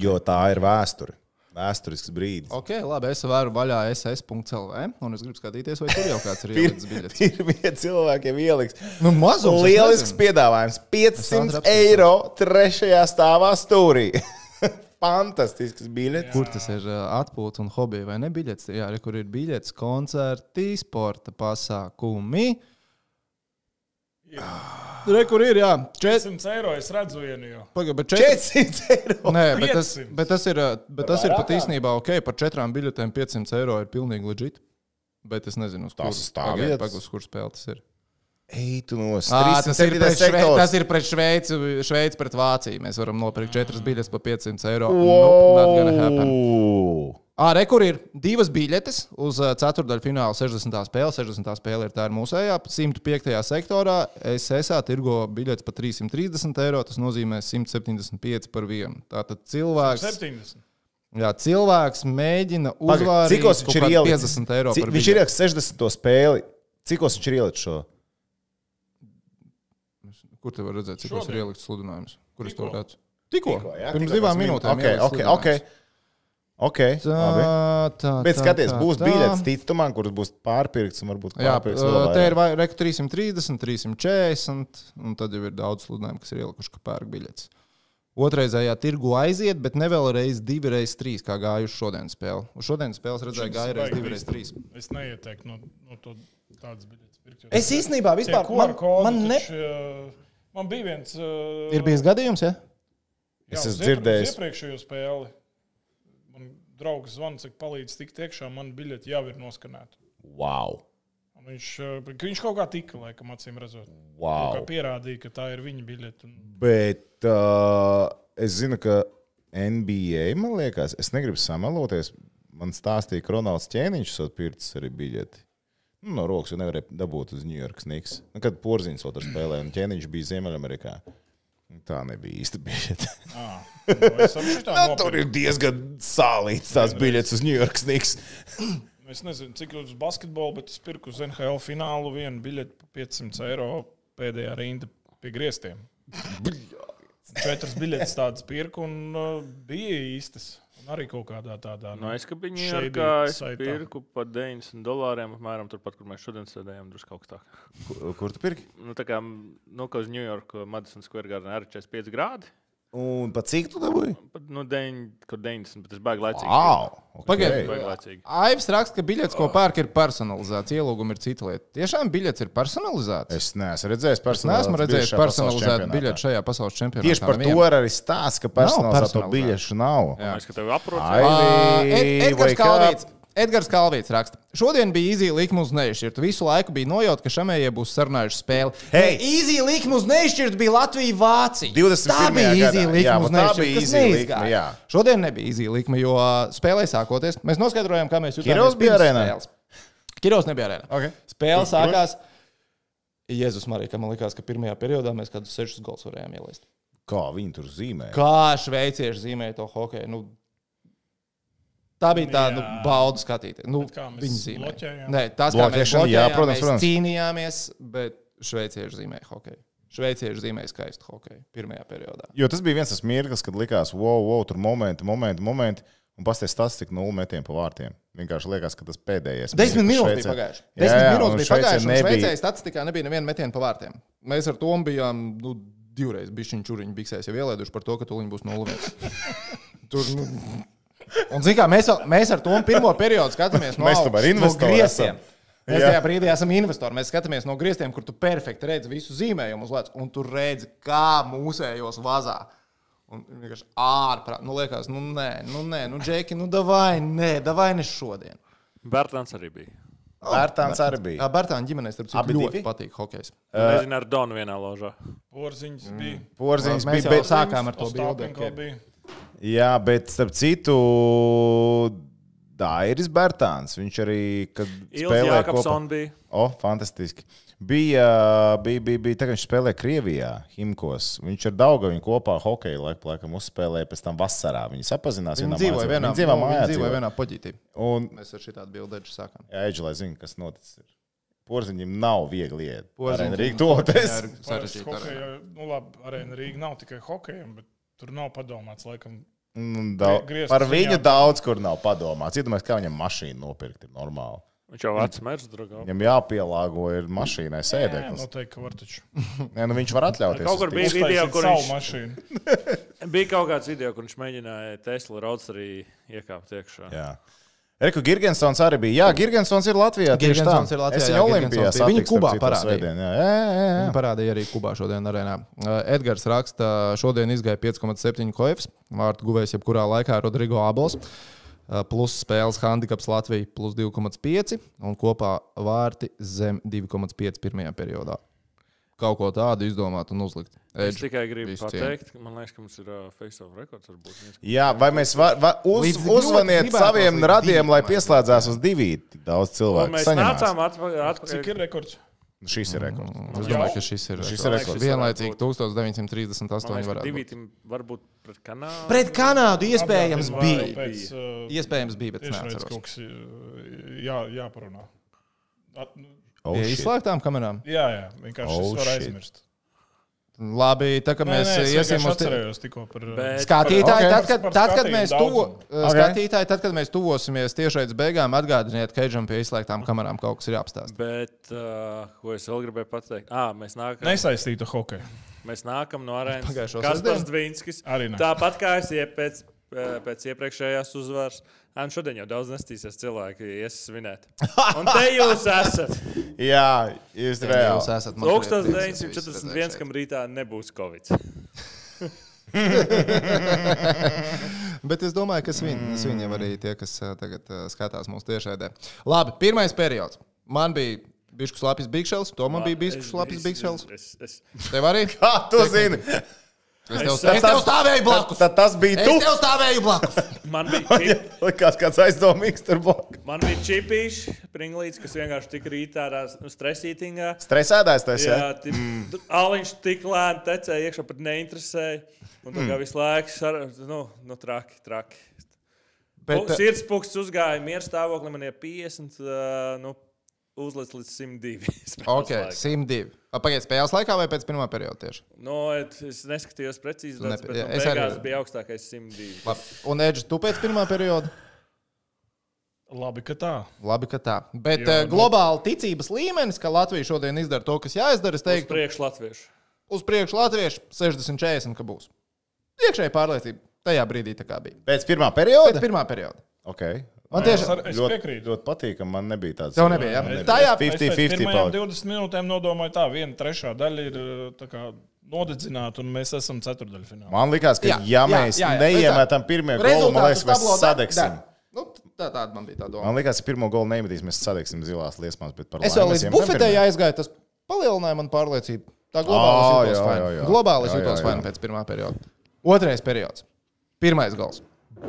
D: Jo tā ir vēsture. Vēsturisks brīdis.
E: Ok, labi, es varu vaļā ss.lv un es gribu skatīties, vai tur jau kāds (laughs) ir ielicis
D: (laughs)
E: biļetes.
D: Pirmie cilvēkiem ieliks.
E: Nu, mazums. es
D: Lielisks
E: nezinu.
D: piedāvājums.
E: ātri
D: 500
E: apskatīšos.
D: eiro trešajā stāvā stūrī. (laughs) Fantastisks biļets.
E: Kur tas ir ā, atpūta un hobija vai ne? Biļets, jā, arī kur ir biļets, koncerti, sporta pasākumi. Tur kur ir, jā, 400.
C: 100 eiro es redzu vienu jau.
E: Pagaidām, bet 400.
D: 400 eiro.
E: Nē, bet tas,
C: 500.
E: bet tas ir, ā, bet tas ir pat īstenībā ok. Par četrām biļetēm 500 eiro ir pilnīgi leģit. Bet es nezinu, uz
D: Tas
E: kuras
D: uz tā vietas.
E: kur spēle tas ir.
D: Ej, tu nos.
E: Ā, tas, ir
D: 307.
E: pret šve,
D: sektors.
E: tas ir pret Šveici, Šveici pret Vāciju. Mēs varam nopirkt četras biļetes par 500 eiro. Nope, Nu, not gonna happen.
D: Wow!
E: Arī tur ir divas biļetes uz ā, ceturdaļfināla 60. spēle. 60. spēle ir tā ir mūsējā. 105. sektorā SSA tirgo biļetes par 330 eiro. Tas nozīmē 175 par vienu. Tātad cilvēks,
C: 70.
E: jā, cilvēks mēģina
D: Pagaid,
E: uzvarēt.
D: Cikos viņš ir ielicis?
E: 50 eiro.
D: Cik,
E: par
D: viņš
E: biļeti.
D: ir ielicis 60. spēli. Cikos viņš ir ielicis šo?
E: Kur te var redzēt, cik mums ir ielikt sludinājums? Kur es to
C: Tikko.
E: redzu? Tikko.
D: jā,
E: Pirms
D: tikko
E: divām
D: tas min-
E: minūtēm.
D: Ok,
E: ielikt
D: ok,
E: sludinājums.
D: ok. okay labi.
E: Tā, tā,
D: Bet
E: tā,
D: skaties,
E: tā,
D: būs
E: tā.
D: biļets tītumam, kurus būs pārpirkts un varbūt
E: Jā,
D: pārpirkts vēl
E: tā ir
D: vairāk.
E: vai- reku 330, 340, un tad jau ir daudz sludinājumu, kas ir ielikuši, ka pērk biļetes. Otraizējā tirgu aiziet, bet ne vēlreiz 2, 3, kā gājuši šodienas spēlē. Uz šodienas spēles redzēju, gāja reizes 2, 3.
C: Es neieteiktu no, no to tādas biļetes pirkt. jo
E: Es
C: tie-
E: īstenībā
C: tie
E: vispār
C: QR kodi
E: man, man ne...
C: taču, ā, Man bija viens. ā,
E: ir bijis gadījums, ja?
D: Es
C: uz
D: esmu
C: iepr- uz
D: dzirdējis.
C: Iepriekšējo spēli. Man draugs zvana, cik palīdz tikt iekšā, man biļeti jau ir noskanēta.
D: Wow!
C: Un Viņš, ā, ka viņš kaut kā tika, laikam, acīm redzot. Kaut Kā
D: wow.
C: pierādīja, ka tā ir viņa biļete. un-
D: Bet uh, es zinu, ka NBA, man liekas, es negribu samaloties. Man stāstīja, ka Ronalds Čēniņš ir pircis arī biļeti. Nu, no rokas jau nevarēja dabūt uz New York Snigs. Nu, kad porziņš otrs spēlēja, un ķēniņš bija Ziemeļamerikā. Nu, Tā nebija īsta (laughs) biļete.
C: Es saprotu,
D: Tā,
C: tā
D: tur ir diezgan sālīts tās biļetes uz New York Snigs.
C: Es nezinu, cik uz basketbolu, bet es pirku uz NHL finālu vienu biļeti par 500 eiro pēdējā rinda pie griestiem. Četras biļetes tādas pirku un uh, bija īstas. Un arī kaut kādā tādā.
G: No Nu, es biju
C: Shady
G: Ņujorkā, es
C: saitā.
G: pirku par 90 dolāriem, apmēram turpat, kur mēs šodien sēdējām, drusku augstāk.
D: Kur, kur tu pirki?
G: Nu, tā kā nokāpus Ņujorkā, Madison Square Garden arī 45 grādi,
D: Un pa cik tu dabūji?
G: pat nu, deņ- kur 90, bet tas baigi laicīgi.
D: Wow!
E: Pagaidiet,
G: Baigi laicīgi.
E: Aivs raksta, ka biļets, ko pērk, ir personalizēts. Ielūguma ir cita lieta. Tiešām biļets ir personalizēts.
D: Es uh, neesmu redzējis personāla.
E: Neesmu redzējis personalizētu biļeti šajā pasaules čempionātā.
D: Tieši par to
E: nevienu.
D: ir arī stāsts, ka personalizēto
E: personalizēto.
D: biļešu nav.
E: Jā.
G: Es skatos, aprūpēju.
E: Ā, Ed-
D: Aivī,
E: Edgars
D: wake up!
E: Kalvīts. Edgars Kalvīts raksta, šodien bija īzija likuma uz nešķirtu. Visu laiku bija nojauta, ka šamējie būs sarunājuši spēli.
D: Hei!
E: īzija likuma uz nešķirtu bija Latvija-Vācija.
D: 21.
E: Tā bija
D: gadā.
E: īzija
D: Jā,
E: likuma
D: bet
E: uz
D: tā
E: nešķirtu.
D: bija
E: kas
D: easy likme,
E: neizgāja.
D: jā.
E: Šodien nebija īzija likuma, jo ā, spēlē sākoties, mēs noskaidrojām, kā mēs
D: Kirovs
E: jutāmies
D: bija
E: pirms
D: arēnā?
E: spēles. Kirovs nebija arēnā.
D: Okay.
E: Spēle sākās. Jēzus Marija, ka man liekas, ka pirmajā periodā mēs kādus sešus gols varējām ielaist.
D: Kā viņi tur zīmē?
E: Kā šveicieši zīmē to hokeju? Nu, tā bija tā nu,
C: Jā.
E: bauda skatīties. Nu,
C: Bet kā mēs
E: viņa zīmē.
C: bloķējām?
E: Nē, tas, kā mēs
D: Bloķēšana,
E: bloķējām,
D: jā,
E: jā,
D: protams,
E: protams, mēs
D: protams.
E: protams. cīnījāmies, bet šveicieši zīmē hokeju. Šveicieši zīmē skaistu hokeju pirmajā periodā.
D: Jo tas bija viens tas mirklis, kad likās, wow, wow, tur momenti, momenti, momenti. Un pasties tas, cik nulle metienu pa vārtiem. Vienkārši liekas, ka tas pēdējais.
E: Desmit
D: mirklis
E: minūtes bija
D: Šveicē.
E: pagājušas.
D: Jā,
E: Desmit
D: jā, un
E: minūtes bija
D: Šveicē
E: pagājušas, un
D: nebija-
E: Šveicē statistikā nebija neviena metiena pa vārtiem. Mēs ar to bijām nu, divreiz bišķiņu čūriņu biksēs jau ielaiduši par to, ka tuliņi būs nulle.
D: (laughs)
E: Tur, nu, Un, zin, kā, mēs, vēl- mēs ar to pirmo periodu skatāmies no,
D: Mēs tomēr
E: no
D: investori esam.
E: griestiem. Mēs
D: Jā.
E: tajā brīdī esam investori. Mēs skatāmies no griestiem, kur tu perfekti redzi visu zīmējumu uz lecas, un tur redzi, kā mūsējos vazā. Un vienkārši ārprāt, nu liekas, nu nē, nu nē, nu džeki, nu davai, nē, davai ne šodien.
G: Bērtāns arī bija.
D: Vērtāns arī bija.
E: Bērtāņa ģimenei starp citu
D: Oh, Abi
E: ļoti
D: divi?
E: patīk hokejs.
G: Nezinu, ar Donu vienā ložā.
C: Porziņš bija.
D: Porziņš
E: Mēs
D: bija.
E: jau
D: Bet,
E: sākām ar to bildi.
C: Ostāpenko bija.
D: jā, bet starp citu, Dairis Bērtāns. Viņš arī, kad
G: Ilga
D: spēlēja kopā.
G: Jākapsona bija.
D: O, fantastiski. Bija, bija, bija, bija tā, ka viņš spēlēja Krievijā, Himkos. Viņš ar Daugavu kopā hokeju laiku, laikam, uzspēlēja pēc tam vasarā. Viņi sapazinās. vienā
E: Viņi dzīvoja
D: mācībā.
E: vienā,
D: Viņi dzīvoja
E: nu,
D: mājā.
E: viņi dzīvoja
D: dzīvoja.
E: vienā poģītī.
D: Un
E: Mēs ar šitādu bildeģu sākām.
D: Eģis, lai zinātu, kas noticis. ir. Porziņam nav viegli iet.
E: Porziņš-
D: Arī toties.
E: ir
C: Parasti
E: sarežģīti. arēna.
C: hokeja, Nu, labi, arēna Rīga nav tikai hokejam, bet tur nav padomāts laikam. Griezt
D: Par
C: ziņā.
D: viņu daudz kur nav padomāts. Iedomājieties, kā viņam mašīna nopirkt ir normāli.
G: Viņš jau vecs mērs, draugā.
D: Viņam jāpielāgo ir mašīnai
E: nu-
C: Nē,
D: sēdeklis.
C: noteikti, ka var taču.
D: Nē, nu viņš var atļauties.
G: Kaut kur
D: uz
G: bija
D: tik-
G: video,
C: Uztaisīt
G: kur
C: savu
G: viņš-
C: mašīnu.
G: Bija kaut kāds video, kur viņš mēģināja Tesla rauds arī iekāpt iekšā.
D: Jā. Reku Girgensons arī bija. Jā, Girgensons ir Latvijā. Tieši tā.
E: Girgensons ir Latvijā,
D: Es
E: jā,
D: viņu Olimpijā
E: Girgensons bija. Viņu
D: satiku, starp
E: Kubā
D: citu,
E: parādīja.
D: Svētdien, jā. Jā, jā, jā.
E: Viņa parādīja arī Kubā šodien arēnā. Uh, Edgars raksta, šodien izgāja 5,7 koevis. Vārtu guvējs jebkurā laikā Rodrigo Abols. uh, Plus spēles handicaps Latvijā plus 2,5 un kopā vārti zem 2,5 pirmajā periodā. Kaut ko tādu izdomāt un uzlikt.
G: Es tikai gribu
E: visu cienu.
G: pateikt, ka man liekas, ka mums ir uh, face of records. varbūt.
D: Jā, vai mēs varam uz,
E: Līdz- ļoti
D: uzvanīt
E: gribētos
D: saviem
E: līdz
D: radiem,
E: diviem,
D: lai
E: man
D: pieslēdzās uz diviem? Tik daudz
G: Un
D: cilvēku.
G: Mēs
D: saņemās.
G: nācām atpa-
C: Cik
G: atpakaļ.
C: ir rekords?
D: Šīs ir rekords.
E: Mm, Es domāju, ka šis ir
D: Šis ir rekords.
E: Vienlaicīgi
G: Man liekas,
E: 1938.
G: ka
E: varētu
G: divi
E: būt.
G: tim varbūt pret Kanādu.
E: Pret Kanādu iespējams
C: Atbrauc
E: bija.
C: pēc, uh,
E: Iespējams bija, bet es
C: Tieši redz,
E: neatceros.
C: kaut kas uh, jā, jāparunā. At, nu,
D: Oh,
E: Pie
D: shit.
E: izslēgtām kamerām.
C: jā, jā, vienkārši
D: Oh,
C: oh, var
D: shit.
C: aizmirst.
E: Labi, tā kā
C: Nē,
E: mēs
C: nē, es
E: iesim
C: vienkārši
E: uz te-
C: atcerējos tikko par... uh,
G: Bet-
E: Skatītāji,
D: Ok.
E: okay. tad, kad,
C: Par
E: tad, kad
C: skatījumu
E: mēs tuvo, eh,
C: daudzumu.
D: Ok.
E: skatītāji, tad, kad mēs tuvosimies tiešais beigām, atgādiniet, ka Eidžam pie izslēgtām kamerām kaut kas ir jāapstāsta.
G: Bet, uh, ko es vēl gribēju pateikt? À, mēs, nākam,
C: Nesaistītu hokeju.
G: mēs nākam no arēnas.
E: Pagājušo
G: Kas tas
E: sestdienu?
G: Dvīnskis?
C: Arī nāk.
G: Tāpat kā es iep- pēc, eh, pēc iepriekšējās uzvaras. Un šodien jau daudz nestīsies cilvēki, ies svinēt. Un te jūs esat.
D: Jā, jūs
E: Jūs
D: reāli.
E: esat (laughs) man priecīgs, es visu redzēju
G: 1941.
E: šeit.
G: kam rītā nebūs Covid.
E: Bet es domāju, ka svin- svin jau arī tie, kas ā, tagad ā, skatās mūsu tiešraidē. Labi, pirmais periods. Man bija bišķis lapis bikšels, to man bija bišķis
G: Es-
E: lapis
G: es-
E: bikšels.
G: es- es-
E: Tev arī? (laughs)
D: Kā tu Ah, zini?
E: Es tev, es tev stāvēju blakus.
D: Tad tas bija
E: Es
D: tu. (laughs)
E: tev stāvēju blakus.
G: Man bija čip,
D: Likās, kāds aizdomīgs tur blakus.
G: man bija čipīši, pringlīts, kas vienkārši tik rītā ar stresītingā.
D: Stresēdājs tas, jā?
G: Jā, tip, mm. Aliņš tik lēni tecēja iekšā, pat neinteresēja. Un tā kā mm. visu laiku, sar, nu, nu, traki, traki. Bet,
E: Bet, eh,
G: Sirds pūksts uzgāja mieru stāvoklī, man ir 50, uh, nu, uzlicis līdz 102. (laughs) spēles
E: ok,
G: laikā.
E: 102. A, Pagaidiet, spēles laikā vai pēc pirmā perioda tieši?
G: Nu, et- es neskatījos precīzi,
E: Ne-
G: daudz, bet
E: jā,
G: nu,
E: es arī-
G: beigās bija augstākais 102.
E: Labi. Un Edži, tu pēc pirmā perioda?
C: Labi, ka tā.
E: Labi, ka tā. Bet
C: Jā,
E: Jā,
C: nu-
E: globāli ticības līmenis, ka Latvija šodien izdara to, kas jāizdara, es
G: Uz
E: teiktu,
G: priekšu latviešu.
E: uz priekšu latviešu 60-40, ka būs. Iekšēji pārliecība tajā brīdī tā kā bija.
D: Pēc pirmā
E: Pēc
D: perioda?
E: pirmā perioda.
D: Ok.
E: Man
C: Es,
E: tiešām
C: ar, es
D: ļoti-
C: piekrītu.
D: Ļoti patīkami, man nebija tāds.
E: Tev nebija, jā?
D: Man
E: Tajā-
D: nebija.
C: Es pēc
D: 50-50
C: pirmajām
D: paudi.
C: 20 minūtēm nodomāju, tā viena trešā daļa ir uh, tā kā nodedzināta, un mēs esam ceturdaļfinālā.
D: Man likās, ka,
E: Jā,
D: ja
E: jā,
D: mēs
E: jā, jā.
D: neiemetam pirmie golu, man liekas, mēs sadegsim.
E: Nu, tā, tāda man bija tā doma.
D: Man liekas, ja pirmo golu nemetīs, mēs sadegsim zilās liesmās, bet par
E: Es jau
D: laimi
E: līdz
D: iemetam
E: bufetē
D: pirmo.
E: aizgāju, tas palielināja man pārliecību. Tā
D: Ā,
E: globāli es
D: jā, jā,
E: jūtos
D: jā.
E: fajn. Globāli es
D: Jā,
E: jūtos
D: jā,
E: fajn
D: jā.
E: pēc pirmā perioda. Otrais periods. Pirmais gals.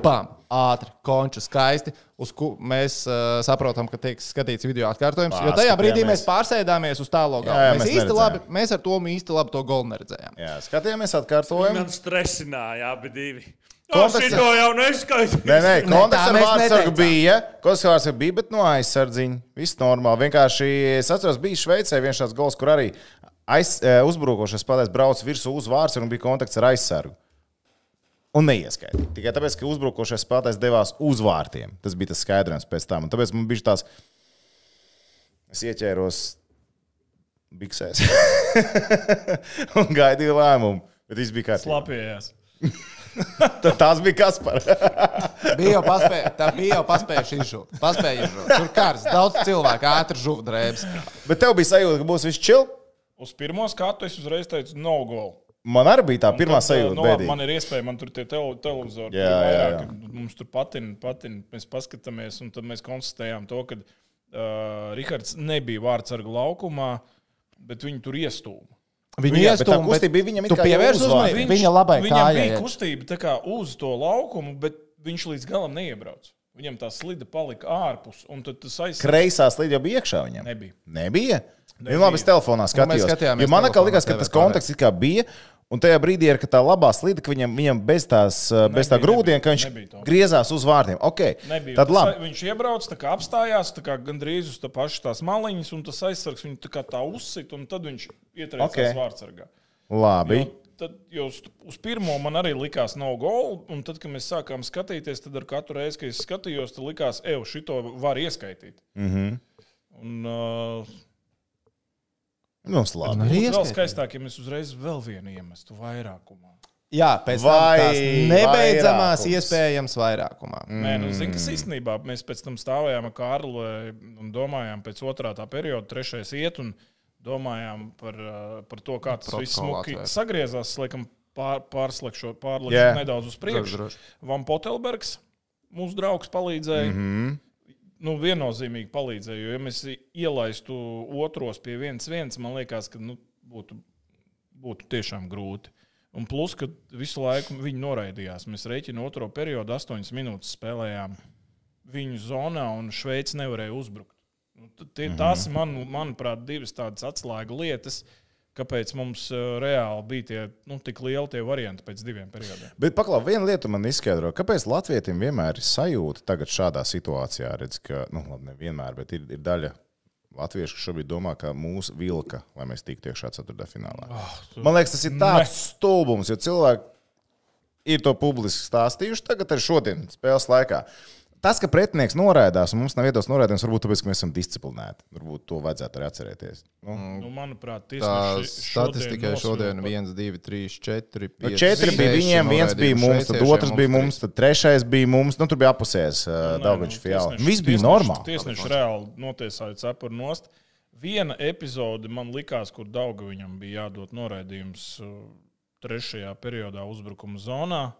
E: Bam! Ātri, konču, skaisti. Uz ko mēs uh, saprotam, ka tiek skatīts video atkārtojums. Jo tajā brīdī mēs pārsēdāmies uz tālo galu.
D: Jā, jā,
E: Mēs,
D: mēs
E: mēs, īsti labi,
D: neredzējām.
E: mēs ar to īsti labi to golu neredzējām.
D: Jā, skatījāmies, atkārtojam.
G: Man stresināja abi divi. Jā,
D: Kompensā-
G: šito jau
E: (laughs)
G: neskaitīju.
D: Nē, nē,
E: Nē, tā
D: konteksts ar
E: mēs
D: Vārtsburgu
E: neteicām.
D: bija. Konteksts ar Vārtsburgu bija, bet no aizsardziņa. Viss normāli. Vienkārši es atceros, bija Šveicē viens tāds gols, kur arī aiz, eh, uzbrukošais spēlētājs brauca virsū uz Vārtsburgu un bija kontakts ar aizsargu. Un neieskaitīja. Tikai tāpēc, ka uzbrukošais spēlētājs devās uz vārtiem. Tas bija tas skaidrojums pēc tam. Un tāpēc man bija tāds, es ieķēros biksēs (laughs) un gaidīju lēmumu. Bet viss bija kārtībā.
C: Slapjējās.
D: Tā- Tās bija Kaspars.
E: Bija jau paspēja, tā bija jau paspējuši izžūt. Paspēja izžūt. Tur kārs, daudz cilvēku ātri žūt drēbes.
D: (laughs) Bet tev bija sajūta, ka būs viss čili.
C: Uz pirmo skatu es uzreiz teicu, no goal.
D: Man arī bija tā pirmā
C: Tad,
D: sajūta.
C: nu, labi,
D: bēdīga.
C: man ir iespēja, man tur tie tele, televizori
D: Jā,
C: jā,
D: jā,
C: jā,
D: jā.
C: jā. mums tur patina, patina. Mēs paskatāmies, un tad mēs konstatējām to, ka uh, Rihards nebija vārdsargu laukumā, bet viņi tur iestūma.
E: Viņa
D: Jā, bet tā
E: iestūma,
D: kustība bija viņam it
E: Tu
D: kā jau
E: pievērsi
D: uzvārds.
E: uzmanību? Viņa labai
C: viņam
E: kājai
C: bija
E: iet.
C: kustība tā kā uz to laukumu, bet viņš līdz galam neiebrauca. Viņam tā slida palika ārpus, un tad tas aizsāka.
D: Kreisā slīde jau bija iekšā viņam.
C: Nebija.
D: Nebija. Nebija. Viņa labi es telefonā
E: Nu, mēs
D: skatījās.
E: skatījāmies
D: Jo man atkal
E: telefonā
D: likās, ka
E: TV
D: tas
E: pārējais.
D: konteksts it kā bija. Un tajā brīdī ir ka tā labā slīde, ka viņam, viņam bez, tās, nebija, bez tā
C: Nebija,
D: grūdiena, ka
C: nebija,
D: viņš
C: nebija to.
D: griezās uz vārtiem. Okay.
C: Nebija.
D: Tad
C: Tas
D: labi.
C: ai- Viņš iebrauca, tā kā apstājās tā kā gandrīz uz tā paša tās maliņas, un tas aizsargs viņu tā, kā tā uzsita, un tad viņš ietrēcās
D: Ok.
C: okay. vārdsargā.
D: labi.
C: Jo Tad, jo uz, uz pirmo man arī likās, nav gola. Un tad, kad mēs sākām skatīties, tad ar katru reizi, kad es skatījos, tad likās, ej, šito var ieskaitīt. Mm -hmm. Un uh,
D: Mums labi.
E: Nu, Arī
C: būtu vēl
E: ieskaitīt.
C: skaistāk, ja mēs uzreiz vēl vienu iemestu vairākumā.
E: Jā, pēc
D: Vai
E: tam tās nebeidzamās
D: vairākums.
E: iespējams vairākumā.
C: Mm. Nē, nu, zini, kas īstenībā mēs pēc tam stāvējām ar Kārlu un domājām, pēc otrā tā perioda, trešais iet un domājām par, uh, par to, kā tas viss
E: Protokolu
C: smuki
E: atvērt.
C: sagriezās. Laikam, pār, pārslēgšot, pārlēkšot
D: Jā.
C: yeah. nedaudz uz priekšu.
E: droši.
C: Van Potelbergs, mūsu draugs, palīdzēja. Mm -hmm.
E: Mhm.
C: Nu, viennozīmīgi palīdzēja, jo, ja mēs ielaistu otros pie viens, viens man liekas, ka nu, būtu, būtu tiešām grūti. Un plus, ka visu laiku viņi noraidījās. Mēs reiķinām otro periodu, astoņas minūtes spēlējām viņu zonā, un Šveice nevarēja uzbrukt. Nu, t- Tie, tās, man, manuprāt, divas tādas atslēga lietas, kāpēc mums eh, reāli bija tie, nu, tik lieli tie varianti pēc diviem periodiem.
D: Bet paklaus, viena lieta man izskaidro, kāpēc Latvijam vienmēr ir sajūta tagad šādā situācijā, redz, ka, nu, labi, nevienmēr, bet ir, ir daļa latviešu, kas šobrīd domā, ka mūsu vilka, lai mēs tiktu iekšā ceturtajā finālā. Oh, man liekas, tas ir tāds stulbums, jo cilvēki ir to publiski stāstījuši tagad ar šodien spēles laikā. Tas, ka pretinieks noraidās, un mums nav vietas norādījums, varbūt tāpēc, ka mēs esam disciplinēti. Varbūt to vajadzētu arī atcerēties. Nu,
C: Nu, manuprāt,
E: Tā
C: tiesneši šodien
E: statistika
C: nosvilpa-
E: šodien 1, 2, 3, 4.
D: Nu, četri bija viņiem, viens bija mums, tad otrs bija mums, tad trešais bija mums. Nu, tur bija apusējis
C: Nē,
D: Dārgājs
C: nu,
D: Fjāla.
C: tiesneši-
D: Viss bija
C: tiesneši-
D: normāli.
C: Tiesneši reāli notiesāja cepuru nost. Viena epizode man likās, kur Dauga viņam bija jādod noraidījums uh, trešajā periodā uzbrukuma zonā.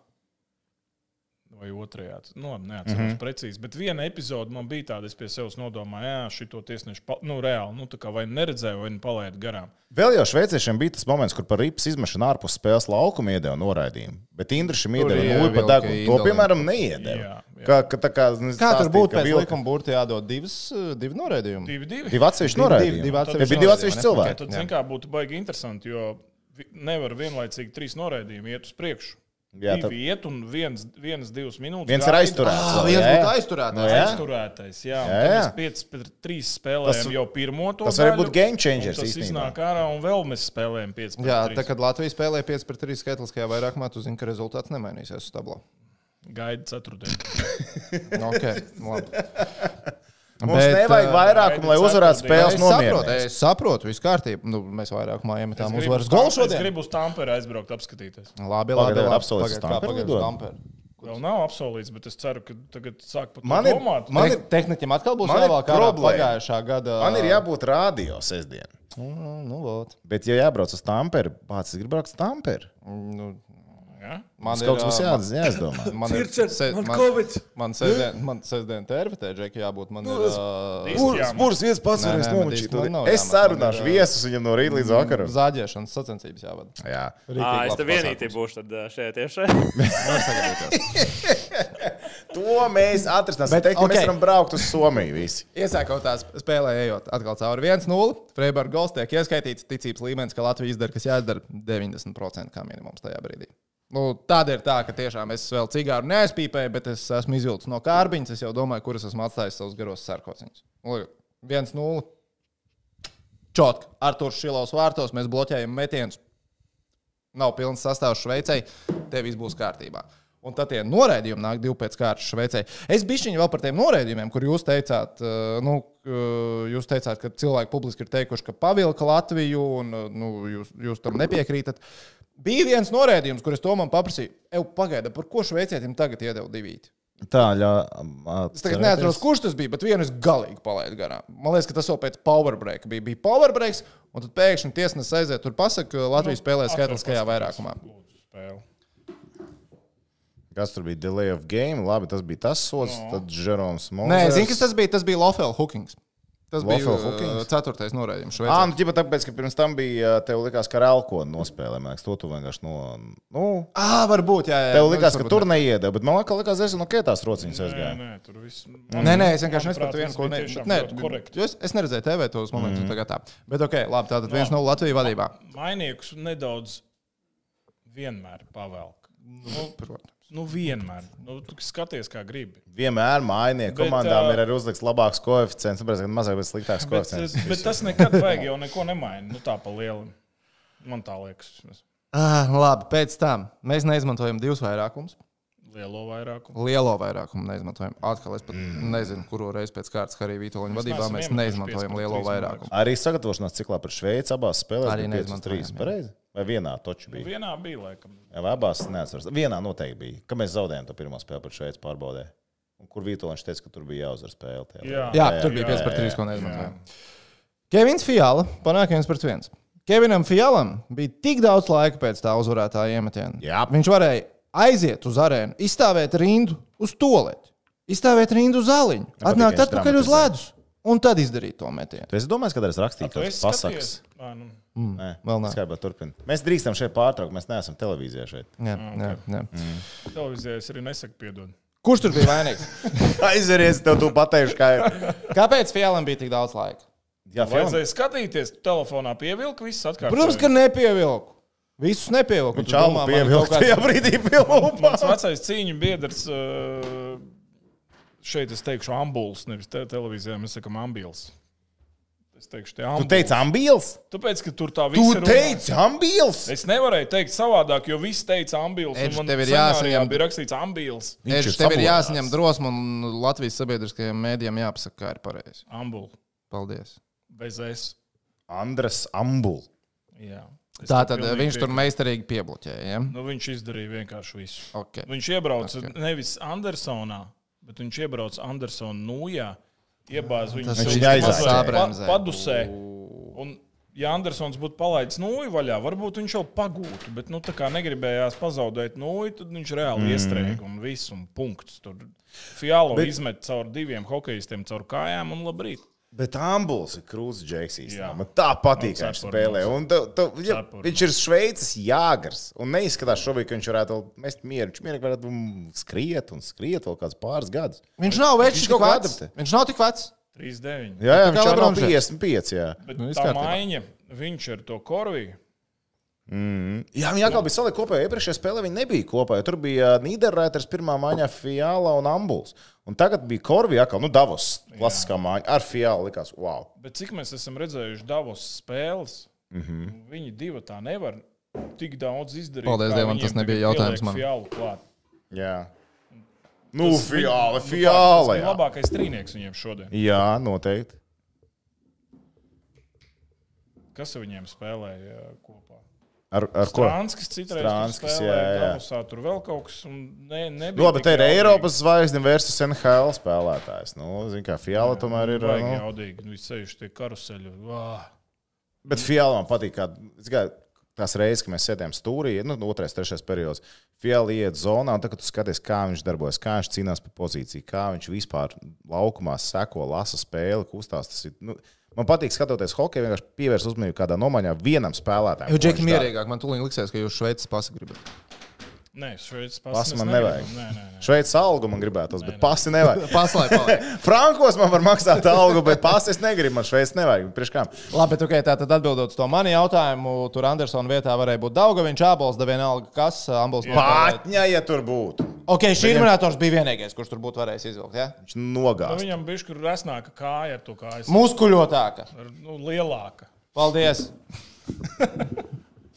C: Vai otrajā, t- nu, labi, neatceros
D: Mhm.
C: mm -hmm. precīzi. Bet viena epizode man bija tāda, es pie sevis nodomāju, jā, šito tiesnešu, pa- nu, reāli, nu, tā kā vai nu neredzēju, vai nu palaidu garām.
D: Vēl jau šveiciešiem bija tas moments, kur par rips izmešanu ārpus spēles laukuma iedeva noraidījumu. Bet Indrišam iedeva
E: jā,
D: nulli par
E: vilka
D: degunu. To,
E: iedala.
D: piemēram, neiedeva.
C: Jā, jā.
D: Kā, ka, tā kā, nezinu,
E: Kā tur
D: stāstīja,
E: būtu
D: ka
E: pēc
D: vilka-
E: likuma burti jādod divas, eh, divi noraidījumi?
C: Divi, divi.
D: Divi atsevišķi
E: Divi-
D: noraidījumi.
E: divi
D: Tie
E: atsevišķi
D: bija divi
E: noraidījumi,
D: atsevišķi
E: ne?
C: Ja
D: cilvēki.
C: tad, zināmā mērā, būtu baigi interesanti, jo vi- nevar vienlaicīgi trīs noraidījumi iet uz priekšu.
D: Jā,
C: Divi
D: tad-
C: iet un viens, viens divas minūtes.
D: Viens ir
C: gaida.
D: aizturēts.
E: Ah,
D: vēl,
E: viens
D: jā?
E: būtu aizturētājs.
D: Nu, jā.
C: Aizturētais, jā.
D: Jā, jā.
C: jā, jā. Mēs 5 3 spēlējām
D: Tas-
C: tas, jau pirmo to.
D: tas var
C: daļu,
D: būt game changers
C: un Tas
D: īstenībā.
C: iznāk ārā un vēl mēs spēlējam 5 3.
E: Jā, tā kad Latvija spēlē 5 pret 3 skaitliskajā vairākumā, tu zini, ka rezultāts nemainīsies uz tablā.
C: gaida
E: (clears throat)
C: ceturtdienu.
E: Okay, labi.
D: Mums
E: Bet,
D: nevajag
E: eh,
D: vairākumu, lai uzvarētu
C: ceturtdienu.
D: spēles
E: Es saprotu,
D: nomierinājumu.
E: es saprotu, viss kārtībā. Nu, mēs vairākumā iemetām
C: Es gribu
E: uzvaras
C: uz
E: golu
C: Tam- Es
E: šodien.
C: gribu uz Tampere aizbraukt, apskatīties.
E: Labi,
D: Pagaid,
E: labi.
D: ir
E: labi.
D: apsolīts
E: Pagaid,
D: uz
E: kā
D: Tamperi
E: pagaid uz
D: lidot?
E: Tamperi?
C: Vēl nav apsolīts, bet es ceru, ka tagad sāk pat
D: Man ir-
C: domāt.
D: man-
E: Man
D: ir-
E: ir tehnikam atkal būs
D: man ir
E: jāvēl kā
D: problēma.
E: pagājušā gada.
D: Man ir jābūt rādio sestdien.
E: Mm, Nu, vot.
D: Bet, ja jābrauc uz Tamperi, pats es gribu braukt uz Tamperi.
E: Nu,
C: Ja?
E: Man
D: Tas kaut kas būs
E: ā,
D: jāatz- jāizdomā. (laughs)
E: Man ir se- man- Man sestdien, man sestdien tērpatē, Džeki, jābūt. Man ir, ā,
C: Diskjām.
H: Būs viens pats
E: Nē,
H: varēs
E: nē, man
H: nomačīt.
E: disk man nav Mm.
D: Es
E: jāmet,
D: sarunāšu
E: man ir, ā,
D: viesus viņam no rīta līdz vakaram. (laughs)
E: Zāģēšanas sacensības jāvada.
D: Jā.
G: Ā, Ah, es
E: labs
G: te vienīgi
E: pasākums.
G: būšu tad, eh, ā, šajā tiešā.
E: (laughs)
D: To mēs atrastāsim.
E: Bet,
D: Teikt, ka okay.
E: okay.
D: mēs varam braukt uz Somiju visi.
E: Iesākot tās spēlē, ejot atkal cauri 1-0. Freiburgas gols tiek ieskaitīts ticības līmenis, ka Latvija izdara, kas jāizdara 90% kā minimums tajā brīdī. Nu, tāda ir tā, ka tiešām es vēl cigāru neaizpīpēju, bet es esmu izvilcis no kārbiņas. Es jau domāju, kuras esmu atstājis savus garos sarkociņus. Nu, lūk, 1-0. Čotk, Arthurs Šilovs vārtos, mēs bloķējam metienus. Nav pilns sastāvs Šveicē, tev viss būs kārtībā. Un tad tie noraidījumi nāk divi pēc kārtas Šveicē. Es bišķiņu vēl par tiem noraidījumiem, kur jūs teicāt, eh, nu, eh, jūs teicāt ka cilvēki publiski ir teikuši, ka pavilka Latviju, un eh, nu, jūs, jūs tam nepiekrītat. Bija viens noraidījums, kurš to man paprasīja. Eju, pagaida, par ko šveicietim tagad iedeva divīti?
D: Tā, um, jā.
E: Es tagad neatceros, kurš tas bija, bet vienu es galīgi palaidu garām. Man liekas, ka tas jau pēc powerbreaka bija. Bija powerbreaks, un tad pēkšņi tiesnesis aiziet tur pasakot, ka Latvija spēlē skaitliskajā vairākumā.
C: Lūdzu, spēle.
D: Kas tur bija? Delay of game. Labi, tas bija tas sots. No. Tad Jeroms Mons.
E: Nē, zini, kas tas bija? Tas bija Lofels Hookings. Tas bija
D: Lofel Hookings?
E: uh, ceturtais norādījums.
D: Ā,
E: Šveicē.
D: nu, ģipa, tāpēc, ka pirms tam bija, tev likās, ka Ralkona nospēlē, man liekas, to tu vienkārši no, nu,
E: Ah, varbūt, jā, jā.
D: tev
E: nu,
D: likās,
E: es
D: ka
E: varbūt
D: tur
E: ne-
D: neiedeva, bet man liekas, ka es no Kētās rociņas
C: Nē,
D: aizgāju.
C: nē, tur viss.
E: Nē, nē, es vienkārši
C: Manuprāt,
E: nesaprotu, vienu,
C: tas
E: ko
C: bija
E: ne-
C: tiešām
E: nē,
C: ļoti korekti.
E: jo Es, es neredzēju TV tos momentus, mm. tagad tā. Bet, ok, labi, tātad viens no Latvijas vadībā.
C: Mainiekus nedaudz vienmēr pavelk.
E: Protams.
C: Nu, vienmēr. Nu, tu skaties, kā gribi.
D: Vienmēr mainie
C: Bet,
D: komandām
C: ā,
D: ir arī uzlikts labāks koeficients, tāpēc, ka mazāk, bet sliktāks
C: Bet, eh,
D: koeficients.
C: bet tas nekad vajag jau neko nemainīt. Nu, tā pa lielam. Man tā liekas. vismaz.
E: Ah, labi, pēc tam mēs neizmantojam divus vairākumus.
C: Lielo vairākumu.
E: Lielo vairākumu neizmantojam. Atkal es pat mm. nezinu, kuro reizi pēc kārtas arī Vitoņa vadībā
C: neesam
E: mēs
C: iemetuši
E: neizmantojam
C: 5 pret
E: lielo
C: 3, man
E: vairākumu.
D: Arī sagatavošanās ciklā par Šveici abās spēlēs
E: Arī
D: arī 5-3.
E: neizmantojām, jā.
D: Pareizi? Vai vienā toču bija?
C: Vienā bija, laikam.
D: Jā, vai abās neatceros. Vienā noteikti bija, ka mēs zaudējām to pirmo spēli par Šveici pārbaudē. Un kur Vitoņš teica, ka tur bija jāuzvar spēle. tajā
E: Jā,
C: Jā.
D: jā,
E: tur bija
D: jā,
E: 5 pret
D: jā,
E: 3, ko neizmantojām. Kevins Fiala panāk 1 pret 1. Kevinam Fialam bija tik daudz laika pēc tā uzvarētā iemetiena.
D: Jā.
E: Viņš varēja aiziet uz arēnu, izstāvēt rindu uz toleti, izstāvēt rindu uz zāliņu, atnākt
D: viņš
E: atpakaļ uz
D: dramatizē.
E: ledus un tad izdarīt to metienu.
D: Tu esi domājis, kad es rakstīju
C: Tu
D: tos
C: esi
D: pasakas?
C: skaties? Ā, nu.
D: Nē,
E: vēl nē.
D: Skaidrā turpina. Mēs drīkstam šeit pārtraukt, mēs neesam televīzijā
E: (laughs)
D: šeit.
E: Jā, jā, jā.
D: Mm.
C: Televizijā es arī nesaku, piedod.
E: Kurš tur bija vainīgs?
D: (laughs) Aizveries, tev tu pateiksi, kā ir.
E: Kāpēc Fialam bija tik daudz laika?
D: Jā, Falks.
C: Vajadzēja skatīties, tu telefonā pievilkt, viss atkārtot.
E: Protams, ka nepievilku. Visus nepievilku. Tu
D: Čau,
E: domā, man kaut
D: pievilkt
E: kāds-
D: tajā brīdī pie
C: Mans
D: lūpām.
C: vecais cīņu biedrs, uh, šeit es teikšu, ambulis, nevis te, televīzijā mēs sakām ambulis. Es teikšu, tie
D: Tu
C: ambulis.
D: teici ambīls?
C: Tāpēc, ka tur tā
D: Tu
C: viss ir.
D: teici ambīls?
C: Es nevarēju teikt savādāk, jo viss teica ambulis.
E: Edž,
C: un man
E: tev ir
C: scenārijā
E: jāsaņem-
C: Bija rakstīts ambulis.
D: Viņš
E: Edž,
D: ir
E: tev ir
D: sabojājis.
E: jāsaņem drosme, un Latvijas sabiedriskajiem mēdījiem jāpasaka, kā ir pareizi.
C: Ambulis.
E: Paldies.
C: Bez es.
D: Andres Ambul.
C: Jā. Es
E: Tā
C: tam
E: tad eh,
C: pilnīgi
E: viņš tur
C: piekrītu.
E: meistarīgi pieblokēja. Ja?
C: Nu, viņš izdarīja vienkārši visu.
E: Okay.
C: Viņš iebrauca okay. nevis Andersonā, bet viņš iebrauca Andersonā nūjā. Iebāz viņu
E: Tas
C: savus
D: viņš aizsāka.
C: mazajos pa-
E: Sabremzē.
C: padusē. Un ja Andersons būtu palaidis nūju vaļā, varbūt viņš jau pagūtu, bet nu, tā kā negribējās pazaudēt nūju, tad viņš reāli mm. iestrēga un viss, un punkts. Tur Fialo bet... izmet caur diviem hokeistiem, caur kājām un labrīt.
D: Bet Ambuls ir krūzis, Džeks.
C: Jā.
D: Man tā patīk,
C: Un
D: kā viņš
C: cepurnos.
D: spēlē. Un tu, tu, ja,
C: Cepurnos.
D: viņš ir šveicis jāgars. Un neizskatās šobrīd, ka viņš varētu vēl mest mieru. Viņš mierīgi varētu mm, skriet un skriet vēl kāds pāris gadus.
E: Viņš nav vecs,
D: Viņš
E: tik
D: kaut ko
E: vecs.
D: adaptē.
E: Viņš nav tik vecs.
C: 3-9.
D: Jā, jā
E: Tā kā
D: viņš jau
E: Lebrons
D: ir 55. Jā,
C: Bet
E: Nu,
C: nu,
E: viss
C: tā
E: kārtībā.
C: maiņa, viņš ir to korviju.
D: jā viņi atkal bija salikti kopā. Iepriekšējā spēlē viņi nebija kopā. jo Tur bija Nīderlanders pirmā maiņā, Fiala un Ambuls. Un tagad bija Korvija, kā nu, Davos, klasiskā maiņa ar Fialu. Likās, wow!
C: Bet cik mēs esam redzējuši Davos spēles, mm
D: Mhm.
C: -hmm. viņi divi tā nevar tik daudz izdarīt.
E: Paldies
C: kā
E: Dievam,
C: viņiem
E: tas nebija
C: tagad
E: jautājums
C: pieliek
E: man.
C: Fialu klāt.
D: Jā. Nu,
C: Tas-
D: Fiala,
C: Tas
D: Fiala!
C: bija
D: jā.
C: labākais trīnieks viņiem šodien.
D: Jā, noteikti.
C: Kas ar viņiem spēlēja uh, kopā?
D: Ar, ar ko?
C: Strānskis citreiz
D: Strānskis,
C: Strānskis,
D: jā,
C: spēlēja,
D: jā.
C: Davosā, tur vēl kaut kas. un Ne, nebija
D: Nu, labi,
C: tik
D: te ir
C: jaudīgi.
D: Eiropas zvaigzne versus NHL spēlētājs. Nu, zin kā, Fiala tomēr ir.
C: Baigi
D: Nu,
C: jaudīgi, nu, ceļš tie karuseļi. Vā.
D: bet Fiala man patīk, kā, zin kā tās reizes, kad mēs sēdējām stūrī, nu, otrais, trešais periods. Fiala iet zonā, un tagad tu skaties, kā viņš darbojas, kā viņš cīnās par pozīciju, kā viņš vispār laukumā seko, lasa spēli, kustās. Tas ir, nu, man patīk skatoties hokeju, vienkārši pievērst uzmanību kādā nomaņā vienam spēlētājam.
E: Jo
D: ko
E: Džeki
D: viņš dara.
E: mierīgāk, man tūlīt liksies, ka jūs šveicis pasagribat.
C: Nē, šeit
D: Pasi
C: spēlēja.
D: man nevajag.
C: Nē, nē, nē.
D: Šveicis algu man gribētos, bet pasi nevajag.
E: (laughs) Paslai, paliek.
D: Frankos man var maksāt algu, bet pasis negribu. Man šveicis nevajag. Priekš kā?
E: Labi, bet okay, tā tad atbildot uz to mani jautājumu, tur Andersona vietā varēja būt Daugaviņš, Ābols, da vienalga kas, Ambols.
D: Pātņa, ja tur būtu.
E: Ok, šī minētājs bija vienīgais, kurš tur būtu varējis izvilkt. Ja?
D: Viņš nogāzās.
C: Nu, Viņam bija šķiet, ka resnāka kāja ar to kājas.
E: Muskuļotāka.
C: Ar, Nu, lielāka.
E: Paldies!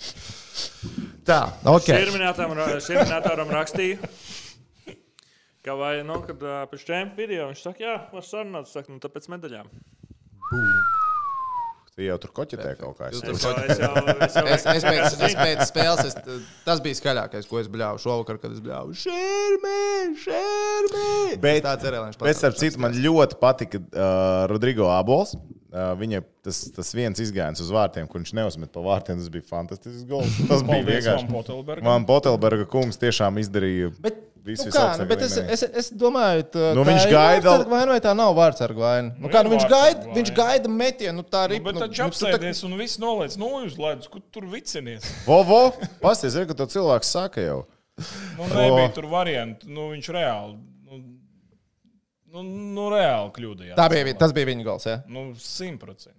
E: (laughs) Tā,
G: (laughs)
E: ok.
G: Šerminātam ra- Šerminātāram rakstīju. Kā vai, nu, kad ā, pēc šiem video viņš saka, jā, var sarunāt, saka, nu, tāpēc medaļām.
D: Viņš jau tur koķetē kaut kā. Es
G: Es
D: tur-
G: jau, es jau, es jau
E: Es, es, pēc, es pēc spēles, es, t- tas bija skaļākais, ko es bļāvu šovakar, kad es bļāvu. Šermē, šermē!
D: Bet-
E: tā cerēja,
D: Bet, starp citu, man ļoti patika uh, Rodrigo Abols. Uh, viņa tas, tas viens izgājiens uz vārtiem, kur viņš neuzmet pa vārtiem, tas bija fantastisks gols. Tas bija
C: Paldies, Van
D: vienkārši.
C: Potelbergam.
D: Man Potelberga kungs tiešām izdarīja
E: Bet,
D: visu
E: nu kā,
D: visaugstāko
E: nu, bet es,
D: līmenī.
E: es, es domāju, ka
D: Nu, viņš gaida-
E: Vai tā nav vārdsarga vaina? Nu, kā, nu,
C: ir
E: viņš,
C: vārdsarga
E: gaida,
C: vaina.
E: viņš gaida metienu, nu, tā arī
C: Bet taču apsēties un viss noliec no uz ledus, kur tur vicinies.
D: Vovo, pasties, zinu, ka to cilvēks saka jau.
E: (laughs)
C: Nu, nebija
E: Oh.
C: tur variantu. Nu, viņš reāli, nu, nu, nu reāli kļūdījās.
E: Tā bija, vi- tas bija viņa gals. Ja?
C: Nu, simtprocentīgi.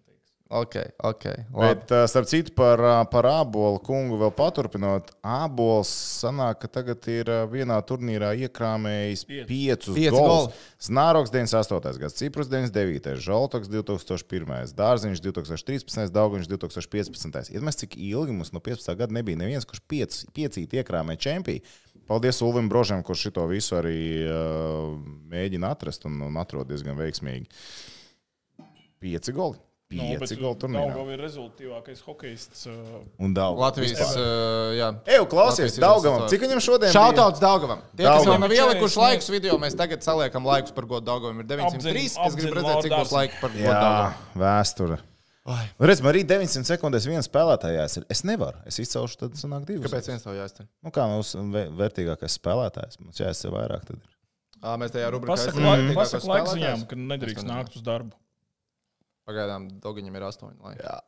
E: Ok, ok. labi.
D: Bet, uh, starp citu, par, uh, par abolu kungu vēl paturpinot, abols sanāk, ka tagad ir uh, vienā turnīrā iekrāmējis
C: Pieci.
D: piecus
E: Pieci
D: golus.
E: goli.
D: Znāroks 98. gads, Ciprus 99. Žaltoks 2001. Dārziņš 2013. Dauguņš 2015. Iedomājieties, cik ilgi mums no 15. gada nebija neviens, kurš piec, piecīt iekrāmē čempiju. Paldies Ulvim Brožam, kurš šito visu arī uh, mēģina atrast un, un atrod diezgan veiksmīgi. Pieci goli.
E: Nu,
D: Pieci goli turnīrā.
C: Daugava Nu, ir rezultātīvākais hokejists. uh,
D: Un daudz.
E: Latvijas. Uh, jā.
D: Eju, klausies,
E: Latvijas
D: Daugavam,
E: izlases
D: cik viņam šodien ir?
E: Šautauts Daugavam. Tie, kas vēl
D: Daugavam.
E: nav ielikuši
C: 40,
E: laikus video, mēs tagad saliekam laikus par godu Daugavam. Ir 903.
C: Apdzin-
E: Es gribu
C: apdzin
E: redzēt, cik
C: Lordu
E: būs laika par godu
D: Jā,
E: Daugavam.
D: vēsture. Nu, redz, man arī 900 sekundēs viens spēlētājs ir. Es nevaru, es izcelšu, tad sanāk divas.
E: Kāpēc viens tev jāizsaka?
D: Nu, kā mums vē- vērtīgākais spēlētājs? Mums jāizsver vairāk. Tad. ir.
E: Mēs tajā rubrikā
C: Pasaka
E: esam
C: lai-
E: vērtīgākos
C: pasaka laiks
E: spēlētājus.
C: viņām, ka nedrīkst nākt uz darbu.
E: Pagaidām Daugaņam ir 8. laika.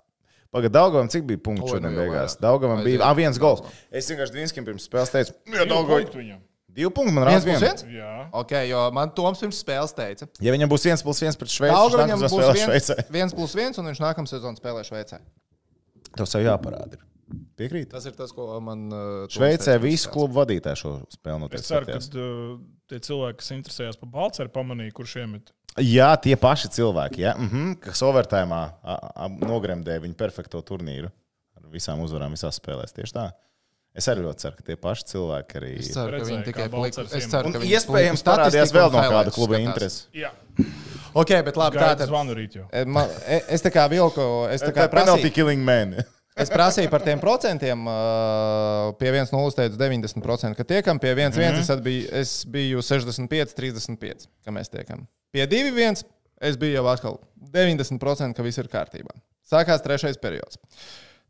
D: Pagad, Daugavam, cik bija punkti
E: Oi,
D: šodien
E: nu jau
D: beigās?
E: vairāk.
D: Daugavam bija.
E: Aiziet. Nu,
D: Ah, viens gols. Es vienkārši Dienskim pirms spēles teicu, jā,
C: Divi
D: Daugavai.
C: punkti viņam.
D: Divi punkti man rāda
E: Viens plus
D: viens.
E: viens?
C: Jā.
E: Ok, jo man Toms pirms spēles teica,
D: Ja viņam būs viens plus viens pret Šveici,
E: ka
D: tad viņš
E: Daugaņam
D: nākamā
E: būs
D: spēlē
E: viens,
D: Šveicē.
E: viens plus viens, un viņš nākamā sezonā spēlē Šveicē.
D: Tev sev jāparāda. ir. Piekrīt?
E: Tas ir tas, ko man uh, Toms
D: Šveicē
E: teica pirms
D: visu
E: spēles.
D: klubu vadītāju šo spēli
C: Es ceru, ka
D: noteikti.
C: uh, tie cilvēki, kas interesējās par Balceru, pamanīja, kurš iemet.
D: Jā, tie paši cilvēki, ja? mm -hmm, kas overtājumā nogremdēja viņu perfekto turnīru ar visām uzvarām, visās spēlēs. Tieši tā. Es arī ļoti ceru, ka tie paši cilvēki
E: Es
D: arī.
E: ceru, ka
C: Redzēju,
E: viņi tikai
C: kā
E: paliks.
C: Balcars
E: Es
C: iemet.
E: ceru,
D: Un
E: ka viņi
D: iespējams,
E: plīku
D: parādījās
E: statistiku
D: vēl
E: un
D: no kāda
E: highlights
D: kluba
E: skatās.
D: interesi.
C: Jā,
E: Ok, bet labi, tā
C: gaidu
E: tad.
C: zvanu rīt jau.
E: E, Man, e, es tā kā vilku, es tā
D: Tā
E: kā
D: ir penalty
E: prasīju,
D: killing man. (laughs)
E: es prasīju par tiem procentiem. ā, Pie 1,0 teicu 90%, ka tiekam, pie 1,1 mm -hmm. es, biju, es biju 65, 35, ka mēs tiekam. Pie 2,1 es biju jau atkal 90%, ka viss ir kārtībā. Sākās trešais periods.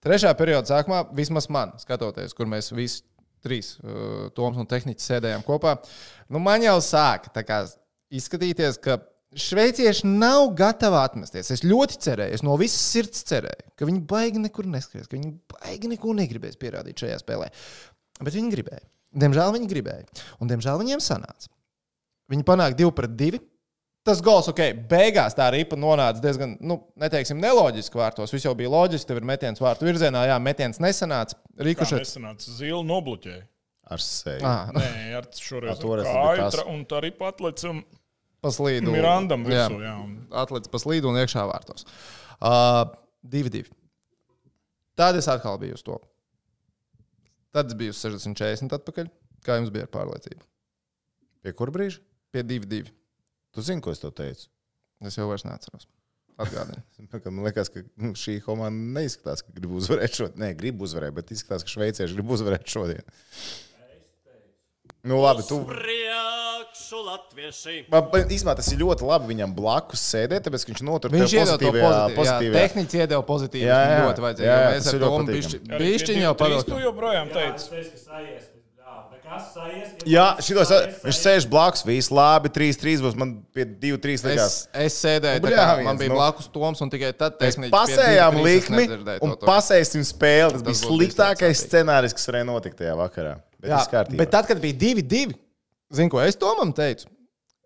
E: Trešā perioda sākumā, vismaz man, skatoties, kur mēs visi trīs, uh, Toms un Tehnicis, sēdējām kopā, nu man jau sāka tā kā izskatīties, ka šveicieši nav gatavi atmesties. Es ļoti cerēju, es no visas sirds cerēju, ka viņi baigi nekur neskries, ka viņi baigi neko negribēs pierādīt šajā spēlē. Bet viņi gribēja. Diemžēl viņi gribēja. Un diemžēl viņiem sanāca. Viņi panāk divu pret divu. Tas gols, ok, beigās tā arī nonāca diezgan, nu, neteiksim, neloģiski vārtos. Viss jau bija loģiski, tev ir metiens vārtu virzienā, jā, metiens nesanāca.
C: Kurš
E: Rīkušais.
C: aizsanāca? Zila nobloķēja.
D: Ar seju.
E: Ah,
C: Nē,
D: (laughs)
C: ar šoreiz
D: Ā, toreiz tas Nu,
C: kāju
D: bija
C: tra- un tā arī patlecam
E: paslīdu.
C: Mirandam
E: Jā.
C: visu. Jā. un
E: atlicis pa slīdu un iekšā vārtos. Uh, divi, divi. Tad es atkal biju uz to. Tad es biju uz 60, 40 atpakaļ. Kā jums bija ar pārliecību?
D: Pie kur brīža?
E: Pie divi, divi.
D: Tu zini, ko es tev teicu. (laughs)
E: Es jau vairs neatceros. Atgādini.
D: Man liekas, ka nu, šī komanda neizskatās, ka grib uzvarēt šodien. Nē, grib uzvarēt, bet izskatās, ka šveicieši grib uzvarēt šodien. Nu, labi, tu.
A: priekšu latvieši.
D: Man īstenībā tas ir ļoti labi viņam blakus sēdēt, tāpēc ka viņš notur
E: Viņš
D: tev
E: iedod to pozitīvu.
D: pozitīvā.
E: Tehniski iedod pozitīvu.
D: Jā,
E: Jā, jā,
D: jā.
E: ļoti vajadzēja.
D: Jā,
E: Jā,
D: jā,
E: mēs
D: tas
E: ar
D: ir
E: to
D: ļoti patīkami.
C: arī pie
E: bišķiņu jau
C: 2-3 Tu
E: padodamies.
C: joprojām teici,
B: teicu, ka sajies. Jā, nekas sajies.
D: Jā, šitos, eh, viņš sēž blakus, viss labi, 3-3 būs. Man pie 2-3
E: Es,
D: likās.
E: es sēdēju,
D: Nu,
E: tā kā
D: bļāviens,
E: man bija
D: nu.
E: blakus Toms, un tikai tad
D: Mēs
E: tehniski pie
D: pasējām
E: 2-3 es
D: likmi
E: nedzirdēju
D: un
E: to to.
D: pasēsim spēli. Tas bija
E: Tas būtu bijis
D: sliktākais
E: tāds
D: scenārijs, kas varēja notikt tajā vakarā. Bet
E: Jā,
D: viss kārtībā.
E: bet tad, kad bija divi, divi, zinu, ko es Tomam teicu.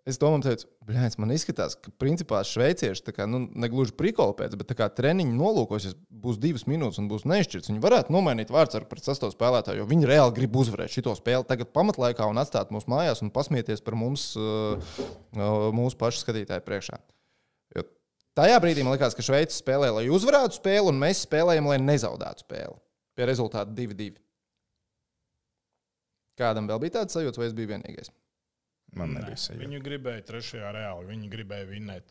E: Es domāju, teicu, blēņas, man izskatās, ka principā šveicieši tā kā, nu, negluži prikola pēc, bet tā kā treniņu nolūkos, ja būs divas minūtes un būs nešķirts, viņi varētu nomainīt vārdsargu pret sastāvu spēlētāju, jo viņi reāli grib uzvarēt šo spēli tagad pamatlaikā un atstāt mūs mājās un pasmieties par mums, uh, uh, mūsu pašu skatītāju priekšā. Jo tajā brīdī man liekas, ka Šveice spēlē, lai uzvarētu spēli, un mēs spēlējam, lai nezaudētu spēli. Pie rezultāta 2-2. Kādam vēl bija tāds sajūta, vai es biju vienīgais?
D: Man nebija sajūta.
C: Viņu gribēja trešajā reāli. Viņi gribēja vinnēt.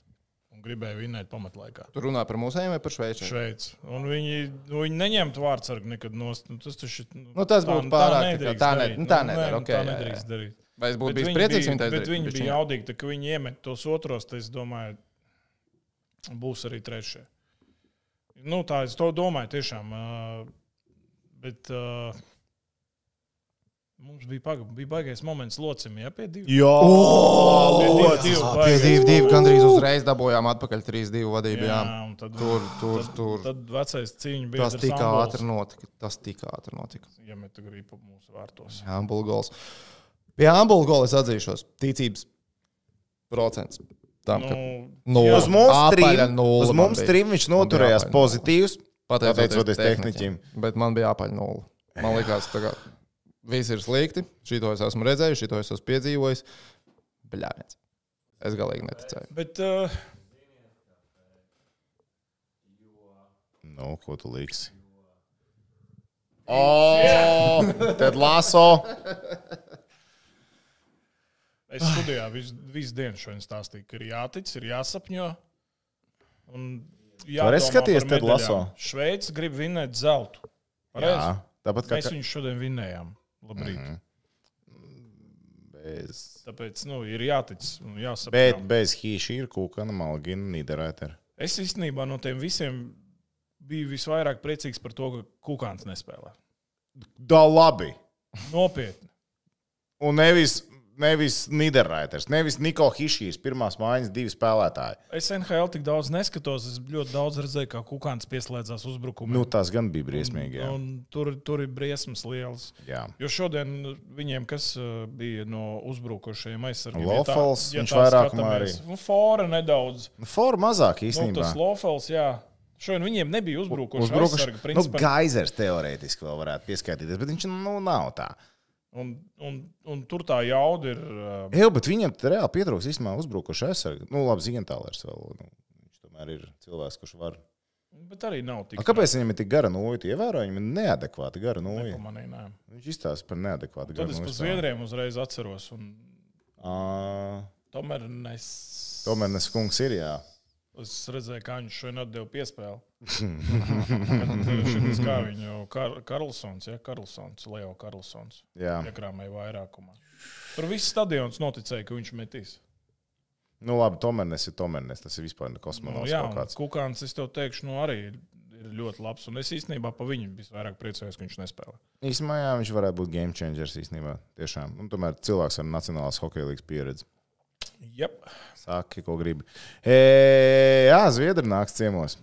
C: Un gribēja vinnēt pamatlaikā.
E: Tur runā par mūsējiem vai par šveiciem?
C: Šveic. Un viņi, nu, viņi neņemtu vārdsargu nekad nost. Nu, tas taču,
E: Nu, tas būtu pārāk tā kā
C: nedrīkst
E: tā ne-
C: darīt.
E: nu, tā
C: Nu,
E: nedara,
C: nu,
E: ok,
C: tā
E: jā, jā.
C: nedrīkst darīt.
E: Vai es būtu
C: Bet
E: bijis
C: viņi
E: priecīgs,
C: bija-
E: ja viņi
C: Bet
E: to
C: viņi bija
E: izdarītu?
C: jaudīgi, tā, ka viņi iemet tos otros, tad es domāju, būs arī trešie. Nu, tā es to domāju, tiešām. ā, Bet ā, mums bija, paga, bija baigais moments locim, ja pie diviem.
D: Jā,
C: Pie divi- divi baigais.
E: 2-2 gandrīz uzreiz dabūjām atpakaļ 3-2 vadību. Jā.
C: Jā, un tad,
E: Tur, tur, tur.
C: tad vecais cīņš bija
E: Tas tik ātri nu. notika. Tas tik ātri notika.
C: Ja mēs tur gribam mūsu vārtos.
E: Jā, Ambula gols. Pie Ambula gola es atzīšos, ticības procents. Tam, ka...
C: Nu,
E: Nulle.
D: Uz mums
E: Oh, Apaļa
D: trim,
E: nulle
D: uz
E: man
D: mums
E: bija.
D: trim viņš
E: Man bija
D: noturējās
E: apaļa nulle.
D: pozitīvs. Pateicoties tehniķim.
E: Bet man bija apaļ nulle. Man liekas, ka viss ir slikti. Šito es esmu redzējis, šito es esmu piedzīvojis. Bļāviens. Es galīgi neticēju.
C: Bet, uh,
D: Nu, ko tu liksi?
E: Oh!
D: O, (laughs) tad laso.
C: Es studijā visu, visu dienu šodien stāstīju, ka ir jātic, ir jāsapņo.
D: Tu varēsi skatīties Ted Lasso?
C: Šveice grib vinēt zeltu.
D: Jā, Mhm.
C: Pareizi?
D: tāpat kā
C: Mēs viņu šodien vinējām. Labrīt. Mm -hmm.
D: bez,
C: Tāpēc nu, ir jātic un jāsaprot.
D: bet bez hīša ir kūkana, malgina, nīderētera.
C: Es īstenībā no tiem visiem biju visvairāk priecīgs par to, ka Kukāns nespēlē.
D: Da labi.
C: Nopietni.
D: Un nevis, nevis Nīderlanders, nevis Niko Hišīs, pirmās mājas divi spēlētāji.
C: Es NHL tik daudz neskatos. Es ļoti daudz redzēju, kā Kukāns pieslēdzās uzbrukumam.
D: Nu, tās gan bija briesmīgi. Jā.
C: un, un tur, tur ir briesmas lielas.
D: Jā.
C: Jo šodien viņiem, kas uh, bija no uzbrukošajiem aizsargiem,
D: Lofels, viņš vairākumā arī.
C: Nu, fora nedaudz.
D: Nu, Forma mazāk
C: Nu,
D: īstenībā.
C: tas Lofels, jā. Šodien viņiem nebija uzbrukoši.
D: Uzbrukuši.
C: aizsargi,
D: Nu,
C: principā.
D: Gaizers teorētiski vēl varētu pieskaitīties, bet viņš nu, nav tā.
C: un, un, un tur tā jauda ir. uh,
D: Jā, bet viņam tad reāli pietrūks īstenībā uzbrukuši aizsargi. Nu, labi, Zigantālers vēl. Nu, viņš tomēr ir cilvēks, kurš var.
C: Bet arī nav tik
D: A, kāpēc viņam ir tik gara noja? Ievēroju, viņam ir neadekvāta gara noja.
C: Manī, nē.
D: Viņš izstāsta par neadekvātu
C: Tad
D: garu.
C: es
D: noju
C: par
D: spēlētāju.
C: Zviedriem uzreiz atceros. un
D: Ā,
C: Tomēr es,
D: Tomēr tas kungs ir jā.
C: es redzēju, kā viņš šodien atdeva piespēli. (laughs) Tas kā viņu Kar Karlsons, ja Karlsons, Leo Karlsons.
D: jā.
C: iekrāmēja vairākumā. Tur viss stadions noticēja, ka viņš metīs.
D: Nu, labi, Tomernes ir Tomernes. Tas ir vispār
C: Nu,
D: kosmonauts
C: jā,
D: kaut
C: un
D: kāds.
C: Kukāns, es tev teikšu, nu, arī ir ļoti labs. Un es īstenībā par viņu visvairāk priecājos, ka viņš nespēlē.
D: Īsumā jā, viņš varētu būt game changers īstenībā. Tiešām. Un tomēr cilvēks ar nacionālās hokeja līnijas pieredzi.
C: Yep.
D: Saki, ko gribi. E, jā, Zviedri nāks ciemos.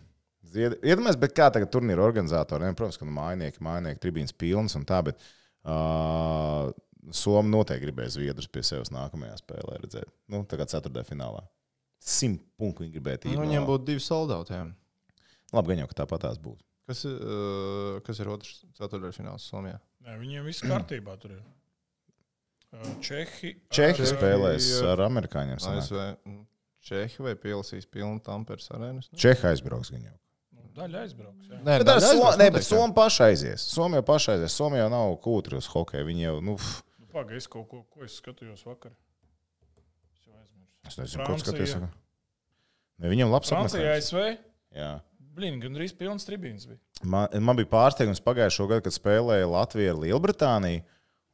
D: Zviedri- Iedomājieties, bet kā tagad turnīra organizatoriem? Protams, ka nu, mājiņieki, mājiņieki, tribīnas pilnas un tā, bet uh, Somija noteikti gribēs Zviedrus pie sevis nākamajā spēlē redzēt. Nu, tagad ceturtajā finālā. Simt punktu viņi gribētu
E: Nu, viņiem būtu divi soldāti.
D: Labi, gan jau, ka tāpat tās būs.
E: Kas, ir, uh, kas ir otrs ceturdaļfināls Somijā?
C: Nē, viņiem viss kārtībā tur ir. Uh, Čehi.
D: Čehi
C: ar-
D: spēlēs ar amerikāņiem. sanāk.
E: ASV, Čehija nu, vai Pielsīs pilnu Tampers arēnas?
D: Čehi aizbrauks gan jau.
C: Nu, Daļa aizbrauks. jā.
E: Nē,
D: Bet ar Somu, nē, bet Somu pašai aizies. Somija pašai aizies. Somija jau nav kūtri uz hokeju. Viņi jau, nu, pff,
C: Nu, Pagaidi, es kaut ko, ko es skatījos vakar. Es jau aizmirsu.
D: es nezinu, kurš
C: Francija.
D: skaties. Ne, viņam labs
C: Francija,
D: apmeklējums.
C: ASV.
D: Jā.
C: Blin, gandrīz pilns tribīns bija.
D: Man, man bija pārsteigums pagājušo gadu, kad spēlēja Latvija ar Lielbritāniju.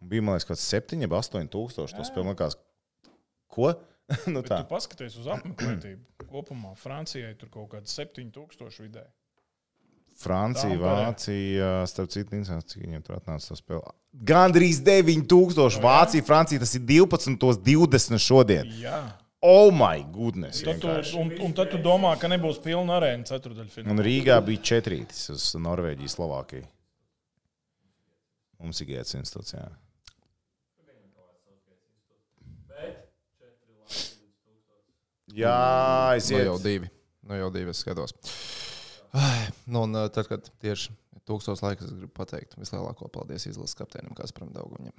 D: Un Bija, man liekas, kaut kāds 7, 8 tūkstoši. Tas spēlē, man liekas, ko? (laughs) nu,
C: Bet
D: tā.
C: tu paskaties uz apmeklētību. (clears throat) Kopumā Francijai tur kaut kādi 7000 vidē.
D: Francija,
C: Tampere.
D: Vācija, starp citu, interesanti, cik viņiem tur atnāca tā spēle. Gan drīz 9000, Vācija, Francija, tas ir 12, 20 šodien.
C: Jā.
D: Oh, my goodness!
C: Tad tu,
D: vienkārši.
C: un, un tad tu domā, ka nebūs pilna arēna ceturdaļfinālā.
D: Un Rīgā bija četrītis uz Norvēģiju, Slovākiju. Mums ir gēts institūts, jā. Jā,
E: Nu jau
D: aiziet.
E: divi. Nu jau divi es skatos. Ai, Nu, un uh, tad, kad tieši tūkstos laikas, es gribu pateikt vislielāko paldies izlases kapteinim Kasparam Dauguņam.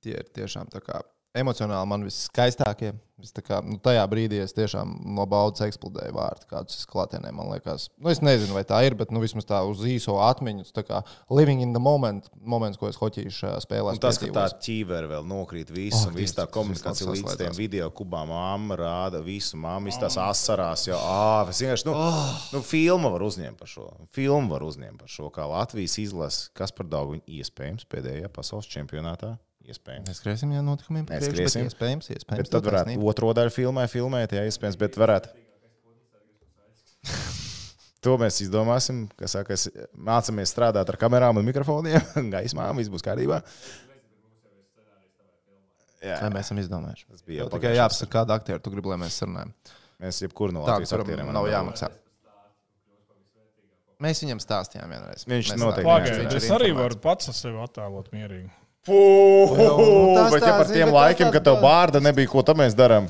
E: Tie ir tiešām tā kā emocionāli man viskaistākie. Vis tā kā, nu, tajā brīdī es tiešām no baudas eksplodēju vārtu, kādus es klātienē, man liekas. Nu, es nezinu, vai tā ir, bet nu, vismaz tā uz īso atmiņu, tā kā living in the moment, moments, ko es hoķīšu eh, šajā spēlē.
D: Un tas, ka tā ķīvera vēl nokrīt visu,
E: Oh,
D: un viss tā
E: Dievs, tas
D: komunikācija
E: viss
D: līdz
E: atslēdzās.
D: tiem video kubām, māma rāda visu, māma viss tās asarās jau. Ā, es vienkārši, nu, nu filmu var uzņemt par šo. Filmu var uzņemt par šo, kā Latvijas izlases, kas par daudz iespējams pēdējā pasaules čempionātā. Iespējams.
E: Mēs skriesim, ja notikumiem pa priekšu, bet
D: Neskriesim.
E: Iespējams,
D: Bet
E: iespējams.
D: tad
E: tā
D: varētu
E: taisnība.
D: otro daļu filmē, filmēt, ja iespējams, bet varētu. (laughs) To mēs izdomāsim. Kā saka, es- mācāmies strādāt ar kamerām un mikrofoniem, (laughs) gaismām, viss būs kārtībā.
E: Vai
D: Jā,
E: mēs esam izdomājuši?
D: tas bija
E: Tev
D: jau
E: Tikai
D: pagājušā
E: jāapsaka, kāda aktiera tu gribi, lai mēs sarunājam.
D: sezonā. Mēs jebkuru no
E: Tā,
D: Latvijas
E: kuram
D: aktieriem
E: nav
D: varam dabūt.
E: jāmaksā. Mēs viņam stāstījām vienreiz.
D: Viņš
E: Mēs
D: noteikti
E: runājām,
D: Pagaid,
E: viņš ir
C: Pagaidiet, es arī
E: informēts.
C: varu pats sev attēlot mierīgi.
E: nu,
D: Puh,
E: tas
D: Bet ja
E: tā,
D: par
E: zini,
D: tiem
E: bet tas
D: laikiem,
E: tā-
D: kad tev bārda nebija, ko tam mēs darām?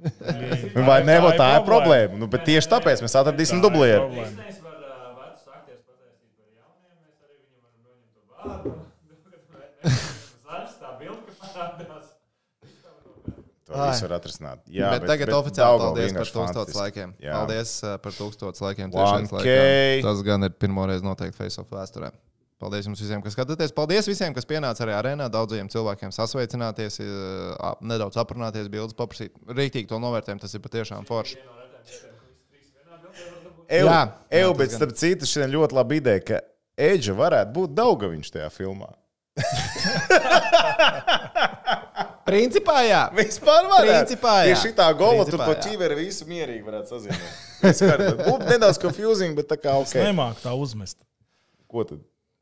D: Vai ne, vai tā ir problēma? Nu, bet tieši tāpēc mēs atradīsim dublieru.
C: problēma.
D: To visu var atrisināt. Jā,
E: bet tagad oficiāli
D: Daugava
E: paldies par
D: vienkārši
E: tūkstotis
D: fantastiski.
E: laikiem.
D: Jā.
E: Jā. Paldies eh, par tūkstotis laikiem.
D: 1K.
E: tiešais laikam. Tas gan ir pirmoreiz noteikti face-off vēsturē. Paldies jums visiem, kas skatāties. Paldies visiem, kas pienāca arī arēnā. Daudziem cilvēkiem sasveicināties, eh, ap- nedaudz aprunāties, bildes paprasīt. Rīktīgi to novērtējumu. Tas ir patiešām forši.
D: Eju,
E: Jā.
D: eju,
E: Jā,
D: bet
E: tas
D: starp citu, šī ir ļoti laba ideja, ka Eģe varētu būt Daugaviņš tajā filmā.
E: Principā jā. (laughs)
D: Vispār varētu.
E: Principā, jā.
D: Pie šitā gola tur
E: Principā,
D: pat
E: jā.
D: ķīveri visu mierīgi varētu sazināt. Vispār, bet Būtu nedaudz confusing, bet tā kā ok.
C: Nemāk tā uzmest
D: Ko tad?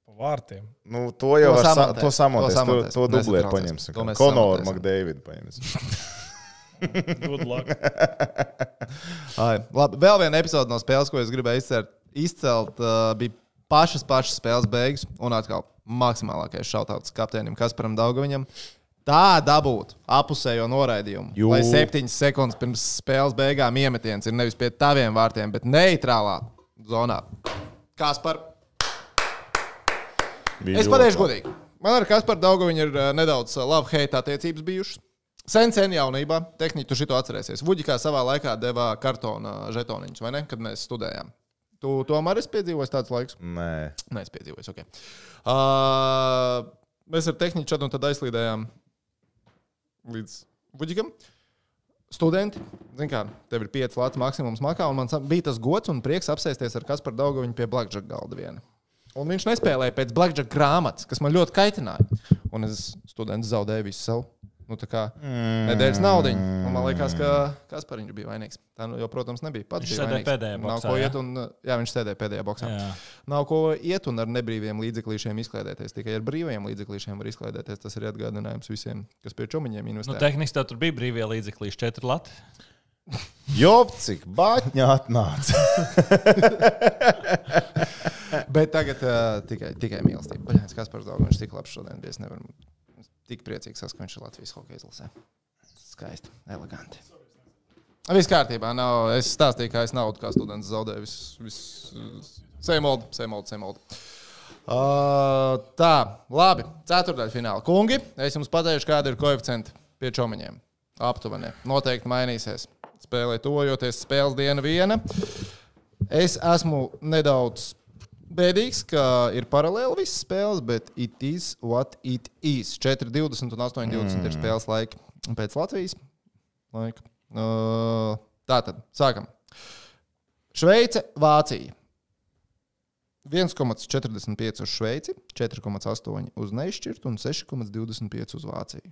C: pa vārtiem.
D: Nu, to jau
E: To
D: var sa
E: samontēs.
D: to samotēs, to,
E: To samontēs.
D: to dublēt
E: Nesatraucies.
D: paņemsim.
E: To mēs
D: Konoru
E: samontēsim.
D: McDavidu
E: (laughs)
D: paņemsim.
C: Good luck.
D: (laughs)
E: Ai, labi, vēl viena epizode no spēles, ko es gribēju izcelt, izcelt uh, bija pašas, pašas spēles beigas. Un atkal maksimālākais šautauts kapteinim Kasparam Daugaviņam. Tā dabūt apusējo noraidījumu.
D: Jū.
E: Jū. Lai septiņas sekundes pirms spēles beigām iemetiens ir nevis pie taviem vārtiem, bet neitrālā zonā. Kaspar,
D: Bija
E: es
D: ļoti
E: pateikšu
D: labi.
E: godīgi. Man ar Kasparu Daugaviņu ir uh, nedaudz laba heita attiecības bijušas. Sen, sen jaunībā, tehniski tu šito atcerēsies. Vuģikā savā laikā deva kartona eh, žetoniņus, vai ne? Kad mēs studējām. Tu tomēr esi piedzīvojis tādus laikus.
D: Nē,
E: Nē, es piedzīvoju. Okay. Uh, mēs ar tehniku čatā tad aizslīdējām līdz Buģikam. Studenti, zinām, kā tev ir pieci lati maksimums makā, un man sa- bija tas gods un prieks apsēsties ar Kasparu Daugaviņu pie Blackjack galda viena. Un viņš nespēlēja pēc Blackjack grāmatas, kas man ļoti kaitināja. Un es students zaudēju visu savu. Nu, tā kā mm. nedēļas naudu. Un man liekas, ka Kaspariņš bija vainīgs. Tā, nu, jo, protams, nebija pats.
F: Viņš
E: bija
F: sēdēja
E: vainīgs.
F: pēdējā
E: Nav
F: boksā,
E: ko
F: jā?
E: iet un, jā, viņš sēdēja pēdējā boxā.
F: Jā.
E: Nav ko iet un ar nebrīviem līdzeklīšiem izklaidēties. Tikai ar brīviem līdzeklīšiem var izklaidēties. Tas ir atgādinājums visiem, kas pie čūmiņiem
F: Nu,
E: investē.
F: tehniski tev tur bija brīvie līdzekļi, četri lati.
D: Jopcik, bāķņā atnāca.
E: (laughs) Bet tagad uh, tikai, tikai mīlestība. Baļķis Kaspars Dārgājs, viņš tik labs šodien bija. Es nevaru. es Tik priecīgs, esmu, ka viņš ir Latvijas hokeja izlasē. Skaisti, eleganti. Viss kārtībā. Nav, es stāstīju, kā es naudu kā students zaudēju. Viss, viss, same old, same old, same old. Uh, tā, labi. Ceturtais fināls. Kungi, es jums pateikšu, kāda ir koeficienta pie čomiņiem. Aptuveni. Noteikti mainīsies. Spēlē tojoties, spēles diena viena. Es esmu nedaudz bēdīgs, ka ir paralēli visas spēles, bet it is what it is. 4, 20 un 8, 20 mm. ir spēles laika pēc Latvijas laika. Uh, tā tad, sākam. Šveice, Vācija. 1,45 uz Šveici, 4,8 uz Nešķirtu un 6,25 uz Vāciju.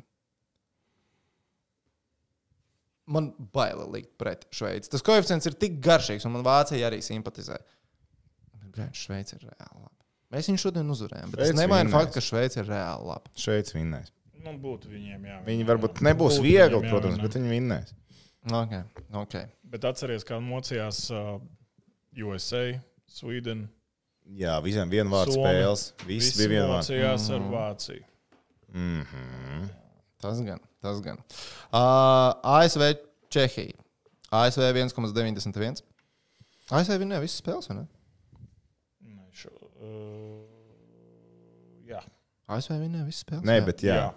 E: Man baila likt pret Šveici. Tas koeficients ir tik garšīgs, un man Vācija arī simpatizē. Brāļ, Šveice ir reāli labi. Mēs viņu šodien uzvarējām, bet
D: Šveice
E: tas nemaina
D: vinnēs.
E: faktu, ka Šveice ir reāli labi.
D: Šveic vinnēs.
C: Nu, būtu viņiem, jā.
D: Viņi varbūt nebūs
C: Būtu
D: viegli,
C: viņiem, jā,
D: protams,
C: jā.
D: bet viņi vinnēs.
E: Okay, okay.
C: Bet atceries, kā mocījās uh, USA, Sweden.
D: Jā, visiem vienvārds
C: Somi.
D: spēles. Viss
C: Visi
D: bija Mm. vienvārds.
C: mocījās ar Vāciju.
E: Tas gan, tas gan. Uh, ASV Čehija. ASV 1,91. ASV viņa visas spēles, vai ne?
C: Nē, šo, uh, jā.
E: ASV viņa visas spēles.
D: Nē, bet jā.
C: Jā.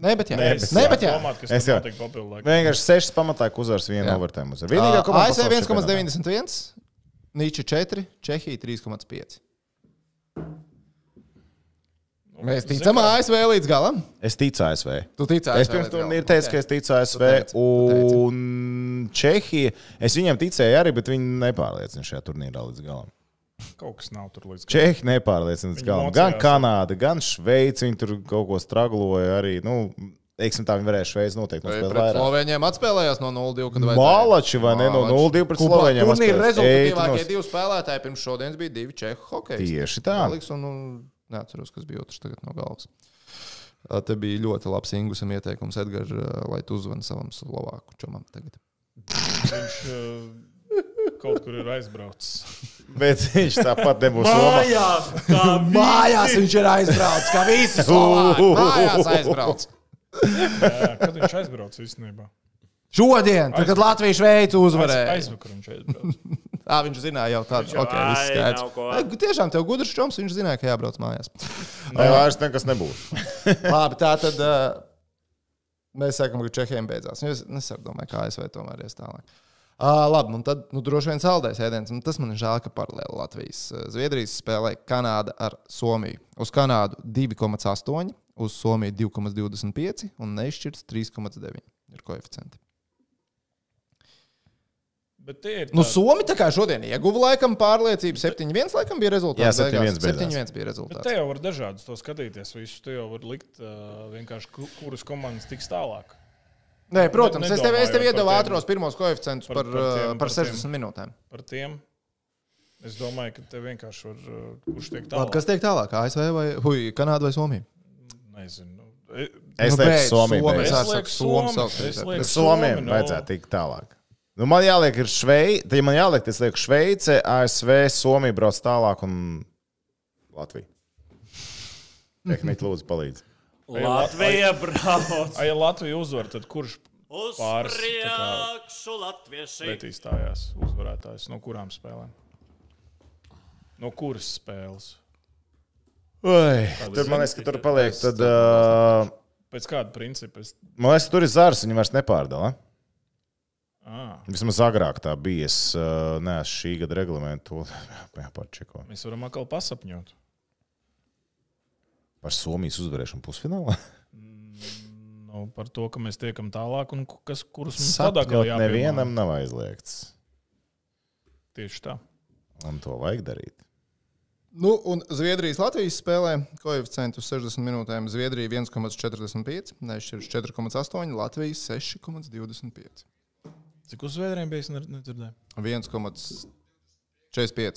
E: Nē, bet jā. Nē, bet jā.
D: bet
E: Nē,
D: jā.
E: bet jā.
C: Domāt, kas
D: Es
C: tur
D: jau-
C: notika papildu laikā.
D: Vienkārši sešas pamatā uzvars vienu
E: Jā.
D: overtēmu.
C: Ah,
D: Vienīgā
E: Uh,
D: komanda
E: ASV
D: pasaules čempionātā.
E: 1,91, Nīča 4, Čehija 3,5. Mēs ticam ASV līdz galam.
D: Es ticu ASV.
E: Tu tici ASV.
D: Es pirms
E: līdz
D: tam
E: galam.
D: ir teicis,
E: Ok.
D: ka es ticu ASV
E: teici, tu teici.
D: un Čehija. Es viņiem ticēju arī, bet viņi nepārliecina šajā turnīrā līdz galam.
C: Kaut kas nav tur līdz.
D: Čehi nepārliecina līdz
C: Viņi
D: galam.
C: mocījās.
D: Gan Kanāda, gan Šveice. Viņi tur kaut ko stragloja arī. Nu, teiksim, tā viņi varēja Šveici noteikti
E: Vai
D: nospēlēt
E: Pret
D: vairāk.
E: Sloveniem atspēlējās no 0-2. kad vajadzēja?
D: Malači vai ne no 0-2
E: Malači.
D: pret
E: Kupā
D: Sloveniem?
E: Turnīra
D: atspēlēs. Ei, tu nos-
E: rezultatīvākie divi spēlētāji pirms šodienas bija divi čehu hokeji.
D: Tieši tā.
E: Aliks un, un neatceros, kas bija otrs tagad no galvas. Ā, Te bija ļoti labs Ingūsam ieteikums, Edgars, ā, lai tu uzvani savam slovāku čomam tagad.
C: Viņš uh, kaut kur ir aizbraucis.
D: Bet viņš tāpat
E: (laughs)
D: nebūs Somā.
G: (laughs)
E: Mājās viņš ir aizbraucis, kā visi (laughs)
D: Slovāki.
E: Mājās aizbraucis.
C: Jā, kad viņš aizbrauca īstenībā?
E: Šodien, tad, kad Latvija šveicu
C: Aiz,
E: uzvarēja.
C: aizvakar viņš aizbrauca.
E: Jā, viņš zināja jau tādu. Okay, viss
G: Ai,
E: skaidrs.
G: nav ko.
E: Ai, gu- Tiešām tev gudrs čoms, viņš zināja, ka jābrauc mājās.
D: Nē, vairs nekas nebūs.
E: Labi, tā tad uh, mēs sakām, ka Čehijam beidzās. Nu, Es nesaprotu, kā ASV tomēr ies tālāk. Uh, labi, un tad nu, droši vien saldēs ēdiens. Un tas man ir žēl, ka paralēli Latvijas eh, Zviedrijas spēlē Kanāda ar Somiju. Uz Kanādu 2,8, uz Somiju 2,25 un neizšķirts 3,9 ir koeficienti.
C: Bet tie ir.
E: Nu,
C: tādi-
E: Somija tā kā šodien ieguva laikam pārliecību. 7-1 laikam bija rezultāts.
D: Jā, 7:1
E: beigās.
D: beidzās.
E: 7:1 bija
C: Bet
E: rezultāts.
C: te jau var dažādus to skatīties. Visus te jau var likt, uh, vienkārši ku- kuras komandas tiks tālāk.
E: Nē, protams,
C: Ne-
E: es tev, es tev
C: nedomājot par
E: iedevu
C: tiem-
E: ātros pirmos koeficientus
C: par-
E: par,
C: par
E: eh,
C: tiem- par
E: par
C: tiem.
E: 60 minūtēm.
C: Par tiem. Es domāju, ka te vienkārši var, uh, kurš tiek
E: Labi,
C: tālāk.
E: kas tiek tālāk? ASV vai hui, Kanāda vai Somija?
C: Nezinu. nu, e-
D: Es
E: Nu,
D: lieku
E: pēc
D: Somiju.
E: Somijas.
D: beigās.
E: Es
C: Es
E: saku,
C: lieku
E: Somu
C: Somu,
E: sauc
C: es
E: tagad.
C: lieku
D: Somijam
C: Somu, nu.
D: vajadzētu tikt tālāk. Nu, man jāliek, ir Šveice. Ja man jāliek, tad es lieku Šveice, ASV, Somija brauc tālāk un Latvija. Tehniski lūdzu palīdz.
G: Latvija brauc
C: Ai, ja Latvija uzvar, tad kurš
A: Uz
C: Pāris, tā kā-
A: priekšu latvieši!
C: pretī stājās uzvarētājs? No kurām spēlēm? No kuras spēles?
D: Oi, tur man liekas, ka tur paliek. Tad, uh,
C: Pēc kāda principa? Es...
D: man liekas, ka tur ir zārs, viņi vairs nepārdala.
C: À,
D: Vismaz agrāk tā bija. Es uh, neesmu šī gada reglamentu (laughs) pārčeko.
C: mēs varam atkal pasapņot.
D: Par Somijas uzvarēšanu pusfinālā.
C: Nu, par to, ka mēs tiekam tālāk un ku- kas, kurus mums
D: (laughs)
C: tādā
D: Sapņot nevienam nav aizliegts.
C: Tieši tā.
D: Un to vajag darīt.
E: Nu, un Zviedrijas-Latvijas spēlē koeficientu uz 60 minūtēm. Zviedrija 1,45, Nešķirs 4,8, Latvija 6,25.
C: Cik uz zviedriem bija? Es ne- nedzirdēju.
E: 1,45. E,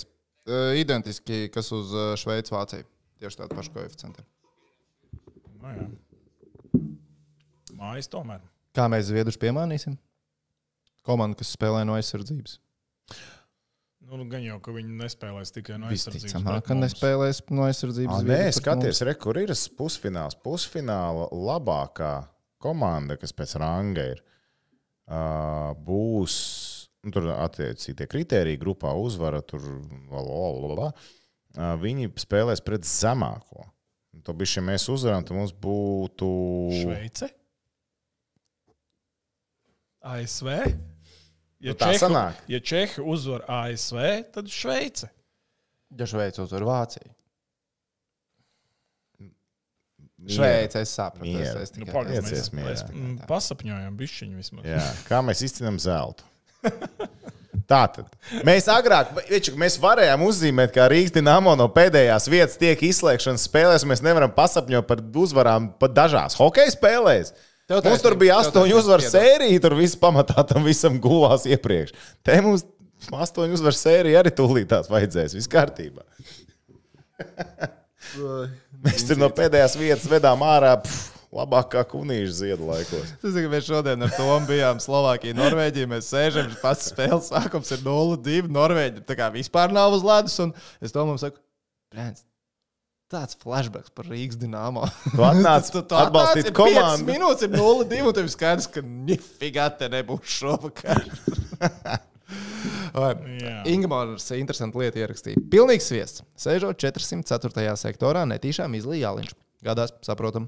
E: Identiski, kas uz e, Šveici, Vāciju. Tieši tādi paši koeficienti.
C: No, Nu jā. Mājas tomēr.
E: Kā mēs Zviedrus piemānīsim? Komanda, kas spēlē no aizsardzības.
C: Nu, gan jau, ka viņi nespēlēs tikai no aizsardzības.
E: Visticamāk,
C: pret
E: ka
C: mums.
E: nespēlēs no aizsardzības.
D: Nē,
E: Zviedri pret mums.
D: skaties, re, kur ir tas pusfināls. Pusfināla labākā komanda, kas pēc ranga ir, ā, būs. Nu, tur attiecīgi tie kriteriji, grupā uzvara, tur blablabla. Viņi spēlēs pret zemāko. Un To bija, ja mēs uzvarām, tad mums būtu.
C: Šveice? ASV? Ja,
D: Nu, tā
C: Čehu-
D: sanāk.
C: ja Čehi uzvar ASV, tad Šveice.
E: Ja Šveice uzvar Vāciju.
D: Mieru.
E: Šveice, es sapratu.
D: Mieru.
E: Es, es
C: Nu,
E: tikai,
C: pagaid,
E: es,
C: mēs
D: Ieciet mierā.
C: mēs, mm, pasapņojam bišķiņu vismaz.
D: Jā, kā mēs izcīnām zeltu. Tā tad mēs agrāk, veču, mēs varējām uzzīmēt, ka Rīgas dīnāmo no pēdējās vietas tiek izslēgšanas spēlēs. un Mēs nevaram pasapņot par uzvarām pat dažās hokeja spēlēs.
E: Tev
D: Mums
E: taisnība,
D: tur bija
E: tev
D: astoņu
E: taisnība,
D: uzvaru
E: piedod.
D: sērija, tur viss pamatā tam visam gulās iepriekš. Te mums astoņu uzvaru sērija arī tūlītās vajadzēs. Viss kārtībā. Mēs tur no pēdējās vietas vedām ārā pf, labākā kunīša ziedu laikos.
E: Tas ir, ka mēs šodien ar Tomu bijām Slovākijā, Norvēģijā. Mēs sēžam, pats spēles sākums ir 0-2. Norvēģija tā kā vispār nav uz ledus. Un es Tomam saku, Brēns, tāds flashbacks par Rīgas (laughs) dīnāmo.
D: Tu atnāc atbalstīt komandu.
E: Minūtes ir 0-2, un tev ir skaidrs, ka nifigā te nebūs šovakar.
D: (laughs)
E: Vai,
C: Jā.
E: Ingūns interesanti lieta ierakstīja. Pilnīgs sviests. Sēžot 404. sektorā, netīšām izlīja jāliņš. Gadās, saprotam.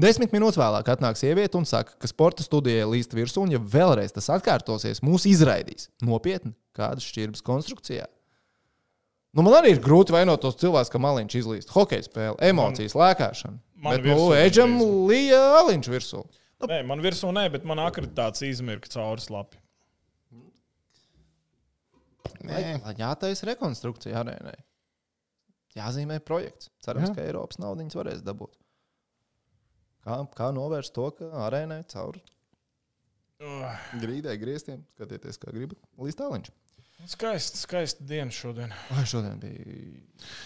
E: Desmit minūtes vēlāk atnāk sieviete un saka, ka sporta studijai līst virsū, un ja vēlreiz tas atkārtosies, mūs izraidīs. Nopietni, kādas šķirbas konstrukcijā. Nu, man arī ir grūti vainot tos cilvēkus, ka maliņš izlīst. Hokejas spēle, emocijas, lēkāšana.
C: man
E: Bet, nu,
C: virsū ir
E: Eģam
C: izlīst.
E: līja aliņš virsū.
C: Nē, man virsū nē, bet man akreditācija izmirka cauri slapi.
E: Lai- lai Jātaisa rekonstrukcija arēnai. Jāzīmē projekts. Cerams, Jā. ka Eiropas naudu varēs dabūt. Kā, kā novērst to, ka arēnai caur
C: Ugh,
E: grīdai grieztiem skatieties, kā gribat. Līdz tāliņš.
C: Skaista, skaista diena šodien.
E: Vai šodien bija?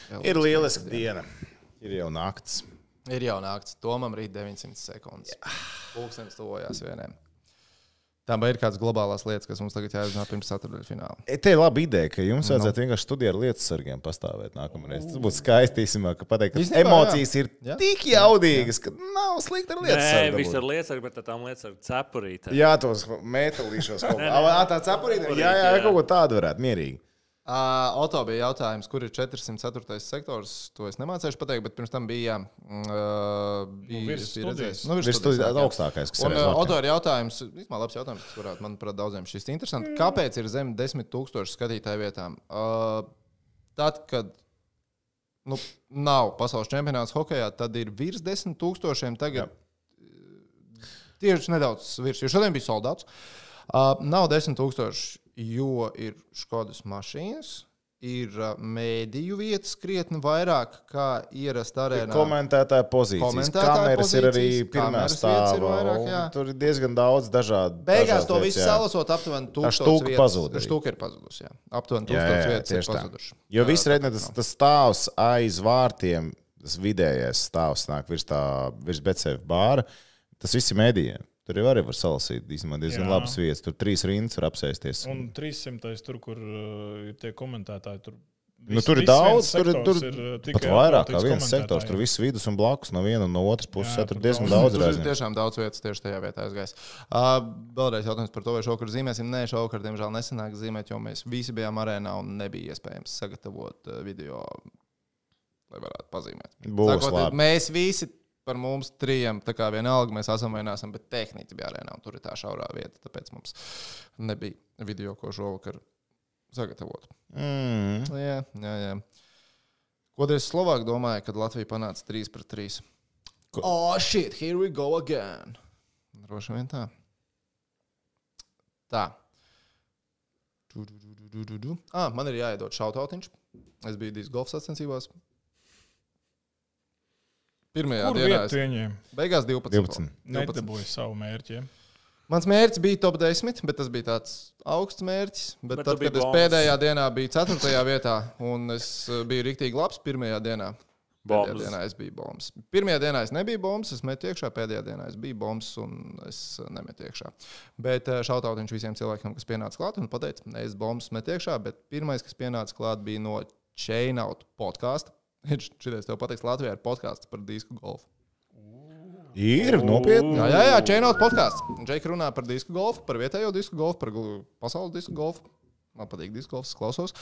E: Jā,
D: Ir lieliska diena. Ir jau naktis.
E: ir jau naktis. Tomam rīt 900 sekundes. Pūkstens tuvojās vienam. Tā vai ir kādas globālās lietas, kas mums tagad jāzina pirms ceturtdienas fināla?
D: E, Te ir laba ideja, ka
E: Nu.
D: jums vajadzētu vienkārši studijā ar lietu sargiem pastāvēt nākamreiz. Tas būtu skaistīsimāk, ka pateikt, ka
E: Īstenībā,
D: emocijas ir
E: Jā.
D: tik jaudīgas, ka nav slikti ar lietu
G: Nē, viss ir
D: sargiem.
G: lietas, ar- bet ar tām lietas ar cepurītēm.
D: Jā, tos metālīšos
E: (laughs)
D: kaut kā. Ā, Tā cepurīte. Jā, jā,
G: jā.
D: kaut ko tādu varētu mierīgi.
E: Uh, Auto bija jautājums, kur ir 404. sektors. To es nemācīšu pateikt, bet pirms tam bija. mm, Uh, bija
C: virs
E: bija redzējis.
C: studijas.
E: Nu,
D: Viņš tur ir
E: jā.
D: augstākais, kas
E: Un,
D: ir.
E: uh, Auto ir jautājums, īstenībā labs jautājums, kas varētu, manuprāt, daudziem šis ir interesants. Kāpēc ir zem 10,000 skatītāju vietām? Uh, tad, kad nu, nav pasaules čempionāts hokeja, tad ir virs 10,000. Tagad uh, tieši nedaudz virs, jo šodien bija soldāts. Uh, nav 10,000, jo ir Skodas mašīnas. Ir uh, mēdīju vietas krietni vairāk, kā ierasts arēnā.
D: Komentētāja pozīcijas.
E: Komentētāja
D: Kameras ir arī
E: pozīcijas,
D: pirmā
E: kameras vietas ir
D: stāvā.
E: vairāk,
D: un
E: jā.
D: Tur ir diezgan daudz dažādu.
E: Beigās
D: dažādas
E: to
D: lietas,
E: visu
D: jā.
E: salasot, aptuveni
D: Tā
E: 1000
D: štuka
E: vietas.
D: pazuda arī.
E: Štuka ir pazudusi. jā. Aptuveni
D: Jā,
E: 1000
D: jā,
E: vietas ir
D: tieši tā.
E: pazudušas.
D: Jo viss redzams, tas, tas stāvs aiz vārtiem, tas vidējais stāvs nāk virs tā, virs Betsēvas bāra. Tas viss ir mēdījiem. Tur jau arī var salasīt īstenībā diezgan
C: Jā.
D: labas vietas. Tur trīs rindas var apsēsties. Un,
C: Un 300. tur, kur uh, ir tie komentētāji, tur,
D: nu, tur ir
C: viens
D: daudz, tur ir
C: sektors
D: tur,
C: ir, uh,
D: pat
C: tikai
D: vairāk kā
C: atvēlēts
D: viens sektors. Tur
C: komentētājiem.
D: viss vidus un blakus no viena un no otras puses.
C: Jā,
D: Jā, tur
C: tur
D: diezgan
C: daudz.
D: daudz
E: Tur ir
D: reizes.
E: tiešām daudz vietas tieši tajā vietā aizgājis. Uh, vēlreiz jautājums par to, vai šovakar zīmēsim. Nē, šovakar, diemžēl, nesenāk zīmēt, jo mēs visi bijām arēnā un nebija iespējams sagatavot uh, video, lai varētu pazīmēt.
D: Būs labi.
E: mēs visi par mums trijiem, tā kā vienalga mēs esam vai neesam, bet tehnika bija arēnā un tur ir tā šaurā vieta, tāpēc mums nebija video, ko šovakar sagatavot.
D: Mm.
E: Nu, Jā, jā, jā. Ko Dievs Slovākija domāja, kad Latvija panāca 3 pret 3?
D: Ko-
E: Oh, shit, here we go again. Droši vien tā. Tā. Du, du, du, du, du, du, du. Ah, man ir jāiedod šautautiņš. Es biju divas golfa sacensībās. Pirmajā
C: Kur
E: dienā
C: vietu
E: es
C: viņiem?
E: beigās 12.
D: 12.
E: 12.
C: Nedabūju savu mērķi. ja?
E: Mans mērķis bija top 10, bet tas bija tāds augsts mērķis. Bet,
G: Bet
E: bet
G: tu
E: tad,
G: biji
E: kad es
G: bombs.
E: pēdējā dienā biju 4. vietā, un es eh, biju rīktīgi labs pirmajā dienā, pēdējā
G: Bombs.
E: dienā es biju bombs. Pirmajā dienā es nebiju bombs, es metu iekšā, pēdējā dienā es biju bombs, un es eh, nemetu iekšā. Bet šautaut viņš visiem cilvēkiem, kas pienāca klāt, un pateica, ne es bombs metu iekšā, bet pirmais, kas pienāca klāt, bija no Chainout (laughs) podkāsta. Šitais tev pateiks, Latvijā ir podkāsts par disku golfu.
D: Ir nopietni.
E: Jā, jā, jā Čēnot podkāsts. Džeki runā par disku golfu, par vietējo disku golfu, par gl- pasaules disku golfu. Man patīk disku golfs, es klausos.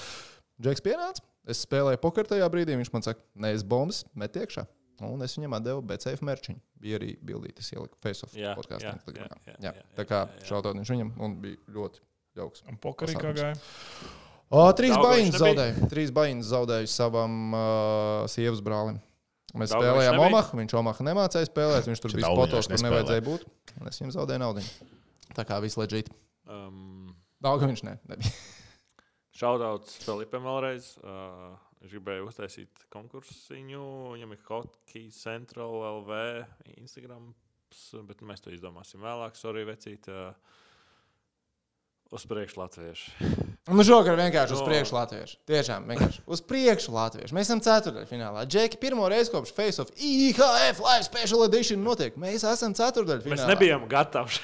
E: Džeks pienāca, es spēlēju pokeru tajā brīdī, viņš man saka, ne es bombas, met iekšā. Un es viņam devu BCF mērķiņu. Bija arī bildītis, ieliku face-off
G: Jā,
E: podkāstā.
G: jā,
E: Instagramā.
G: jā, jā,
E: Jā,
G: jā,
E: Tā kā šautot viņš viņam un bija ļoti jauks.
C: Un pokarī kā gāja.
E: O, trīs
G: Daugaviņš
E: baiņas
G: nebija?
E: zaudēja. Trīs baiņas zaudēja savam uh, sievas brālim. Mēs
G: Daugaviņš
E: spēlējām
G: nebija?
E: Omaha. Viņš Omaha nemācīja spēlēt. Viņš tur
D: Šit
E: bija
D: Daugaviņš
E: spotos, kur
D: nespēlē.
E: nevajadzēja būt. Un es viņam zaudēju naudu. Tā kā viss leģīt.
G: Um,
E: Daudz viņš ne, nebija.
G: Šaudauts Filipam vēlreiz. Uh, viņš gribēja uztaisīt konkursu. Viņam ir Hotkey Central LV Instagram, bet mēs to izdomāsim vēlāk. Sorry, vecīt. Uh, uz priekšu latviešu.
E: (laughs) Nu, šogad vienkārši uz
G: No.
E: priekšu latviešu. Tiešām vienkārši uz priekšu latviešu. Mēs esam ceturtajā finālā. Džeki, pirmo reizi kopš Face of IHF Live Special Edition notiek. Mēs esam ceturtajā finālā.
G: Mēs nebijām gatavi.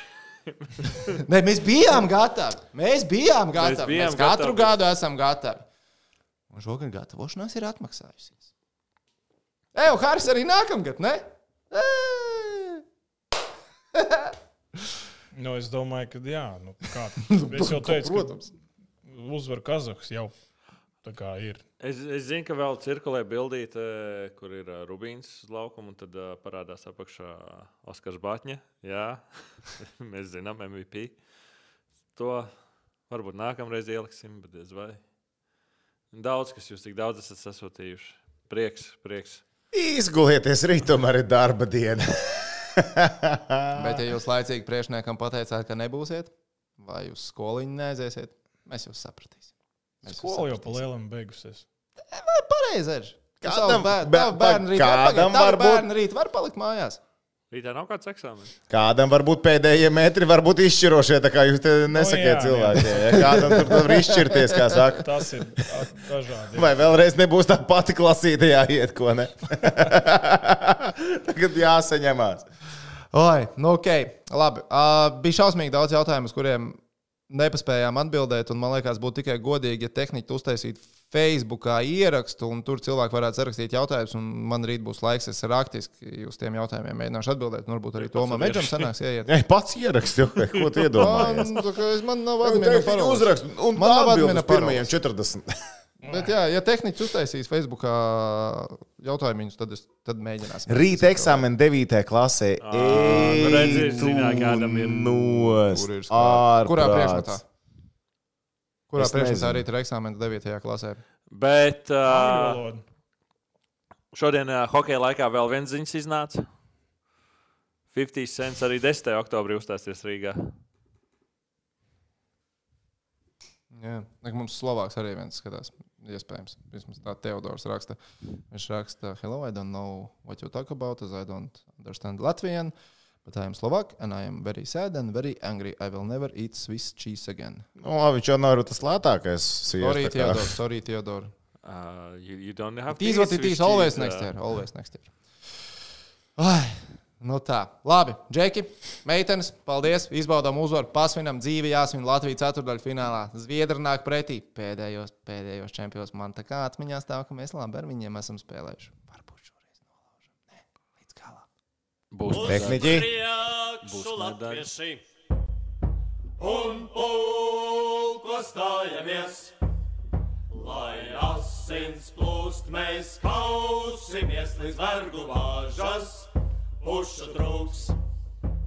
E: Ne, mēs bijām gatavi. Mēs bijām gatavi. Mēs,
G: bijām
E: bijām mēs katru gatavi.
G: gatavi.
E: gadu esam gatavi. Un šogad gatavošanās ir atmaksājusies. Eju, Hāris arī nākamgad, ne? Ē!
C: Nu, es domāju, ka jā, nu, kā, es jau teicu,
E: Protams.
C: ka uzvar Kazahs jau tā kā ir.
G: Es, es zinu, ka vēl cirkulē bildīte, kur ir ā, Rubīns uz laukuma, un tad ā, parādās apakšā Oskars Batņa. Jā, (laughs) mēs zinām, MVP. To varbūt nākamreiz ieliksim, bet diez vai. Daudz, kas jūs tik daudz esat sasūtījuši. Prieks, prieks.
D: Izgulieties, rīt tomēr ir darba diena.
E: Bet, ja jūs laicīgi priekšniekam pateicāt, ka nebūsiet, vai uz skoliņu neaiziesiet, mēs jūs sapratīsim. Mēs jūs
C: Skola jau pa
E: sapratīsim.
C: lielam beigusies.
E: Pareizi ir.
D: Kādam-
E: Kādam
D: bet-
E: bērnam rīt var
D: kādam
E: palikt? Tavi
D: varbūt-
E: bērni rīt var palikt mājās?
G: Rītā nav kāds eksāmenis.
D: Kādam varbūt pēdējie metri var būt izšķirošie, tā kā jūs te
E: Nu
C: jā,
D: nesakāt
C: jā.
D: cilvēkiem. Ja kādam tur var izšķirties, kā saka.
C: Tas ir at- dažādi.
D: (laughs) Vai vēlreiz nebūs tā pati klasīte jāiet, ko ne? (laughs) Tagad jāsaņemās.
E: Oi, nu, ok. Labi. Uh, bija šausmīgi daudz jautājumu, uz kuriem nepaspējām atbildēt. un Man liekas, būtu tikai godīgi, ja tehniķi uztaisītu Facebookā ierakstu, un tur cilvēki varētu sarakstīt jautājumus. un Man rīt būs laiks, es raktiski uz tiem jautājumiem mēģināšu atbildēt. un Varbūt arī Tomam Meģam sanāks
D: (laughs)
E: ieiet.
D: Nē, pats ieraksti, ko (laughs) tu iedomājies.
E: Man, tā kā es- man nav
D: Tagad
E: admina
D: tehniķi
E: paroles.
D: Uzrakst, un
E: Man
D: man
E: nav
D: nav
E: admina
D: atbildes
E: paroles.
D: pirmajiem 40.
E: Bet, jā, ja tehniķis uztaisīs Facebookā jautājumus, tad, es- tad mēģināsim.
D: Rīt eksāmena 9. klasē.
E: Ah,
G: nu redzi,
D: Ej,
G: zinā, kādam ir.
D: Nos,
E: Kur ir skāra?
D: ārprāts.
E: Kurā priekšmetā? Kurā
D: Es
E: priekšmetā
D: nezinu.
E: rīt ir eksāmena 9. klasē?
G: Bet
C: Angļu
G: uh,
C: valoda.
G: šodien uh, hokeja laikā vēl viens ziņas iznāca. 50 cents arī 10. oktobrī uzstāsies Rīgā.
E: Jā, Nē, mums Slovāks arī viens skatās. Iespējams, vismaz tā Teodors raksta. Viņš raksta, Hello, I don't know what you talk about, as I don't understand Latvian. But I am Slovak, and I am very sad and very angry. I will never eat Swiss cheese again.
D: Nu, labi, viņš jau nav tas lētākais.
E: Sorry,
D: siers, tā kā.
E: Teodor,
D: (laughs)
E: sorry, Teodor.
G: Uh, you, you don't have
E: Tīs, what
G: these,
E: it
G: which
E: is, always
G: is,
E: next
G: uh,
E: year, always next year. Ai, nu tā, labi, Džeki, meitenes, paldies, izbaudām uzvaru, pasvinam dzīvi, jāsvin Latvijas ceturdaļfinālā. Zviedri nāk pretī pēdējos, pēdējos čempionos. Man tā kā atmiņā stāv, ka mēs labi ar viņiem esam spēlējuši. Varbūt šoreiz nolaužam. Nē, līdz galam.
G: Būs
D: Tehniķi.
A: priekšu
G: medaļa.
A: latvieši.
B: un pulko stājamies. Lai asins plūst, mēs kausimies līdz vergu vāžas, pušu trūks.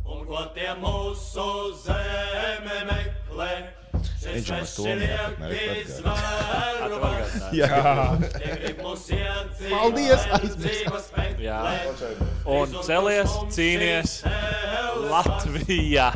B: Un ko tie mūsu zeme meklē? Šis
D: Viņš jau mēs to
B: svešinieks
D: neatnāk, neatgādāt.
B: zvēru vārds.
E: Paldies,
B: Paldies! Aizmirst!
G: Jā. Un celies, cīnies Latvijā!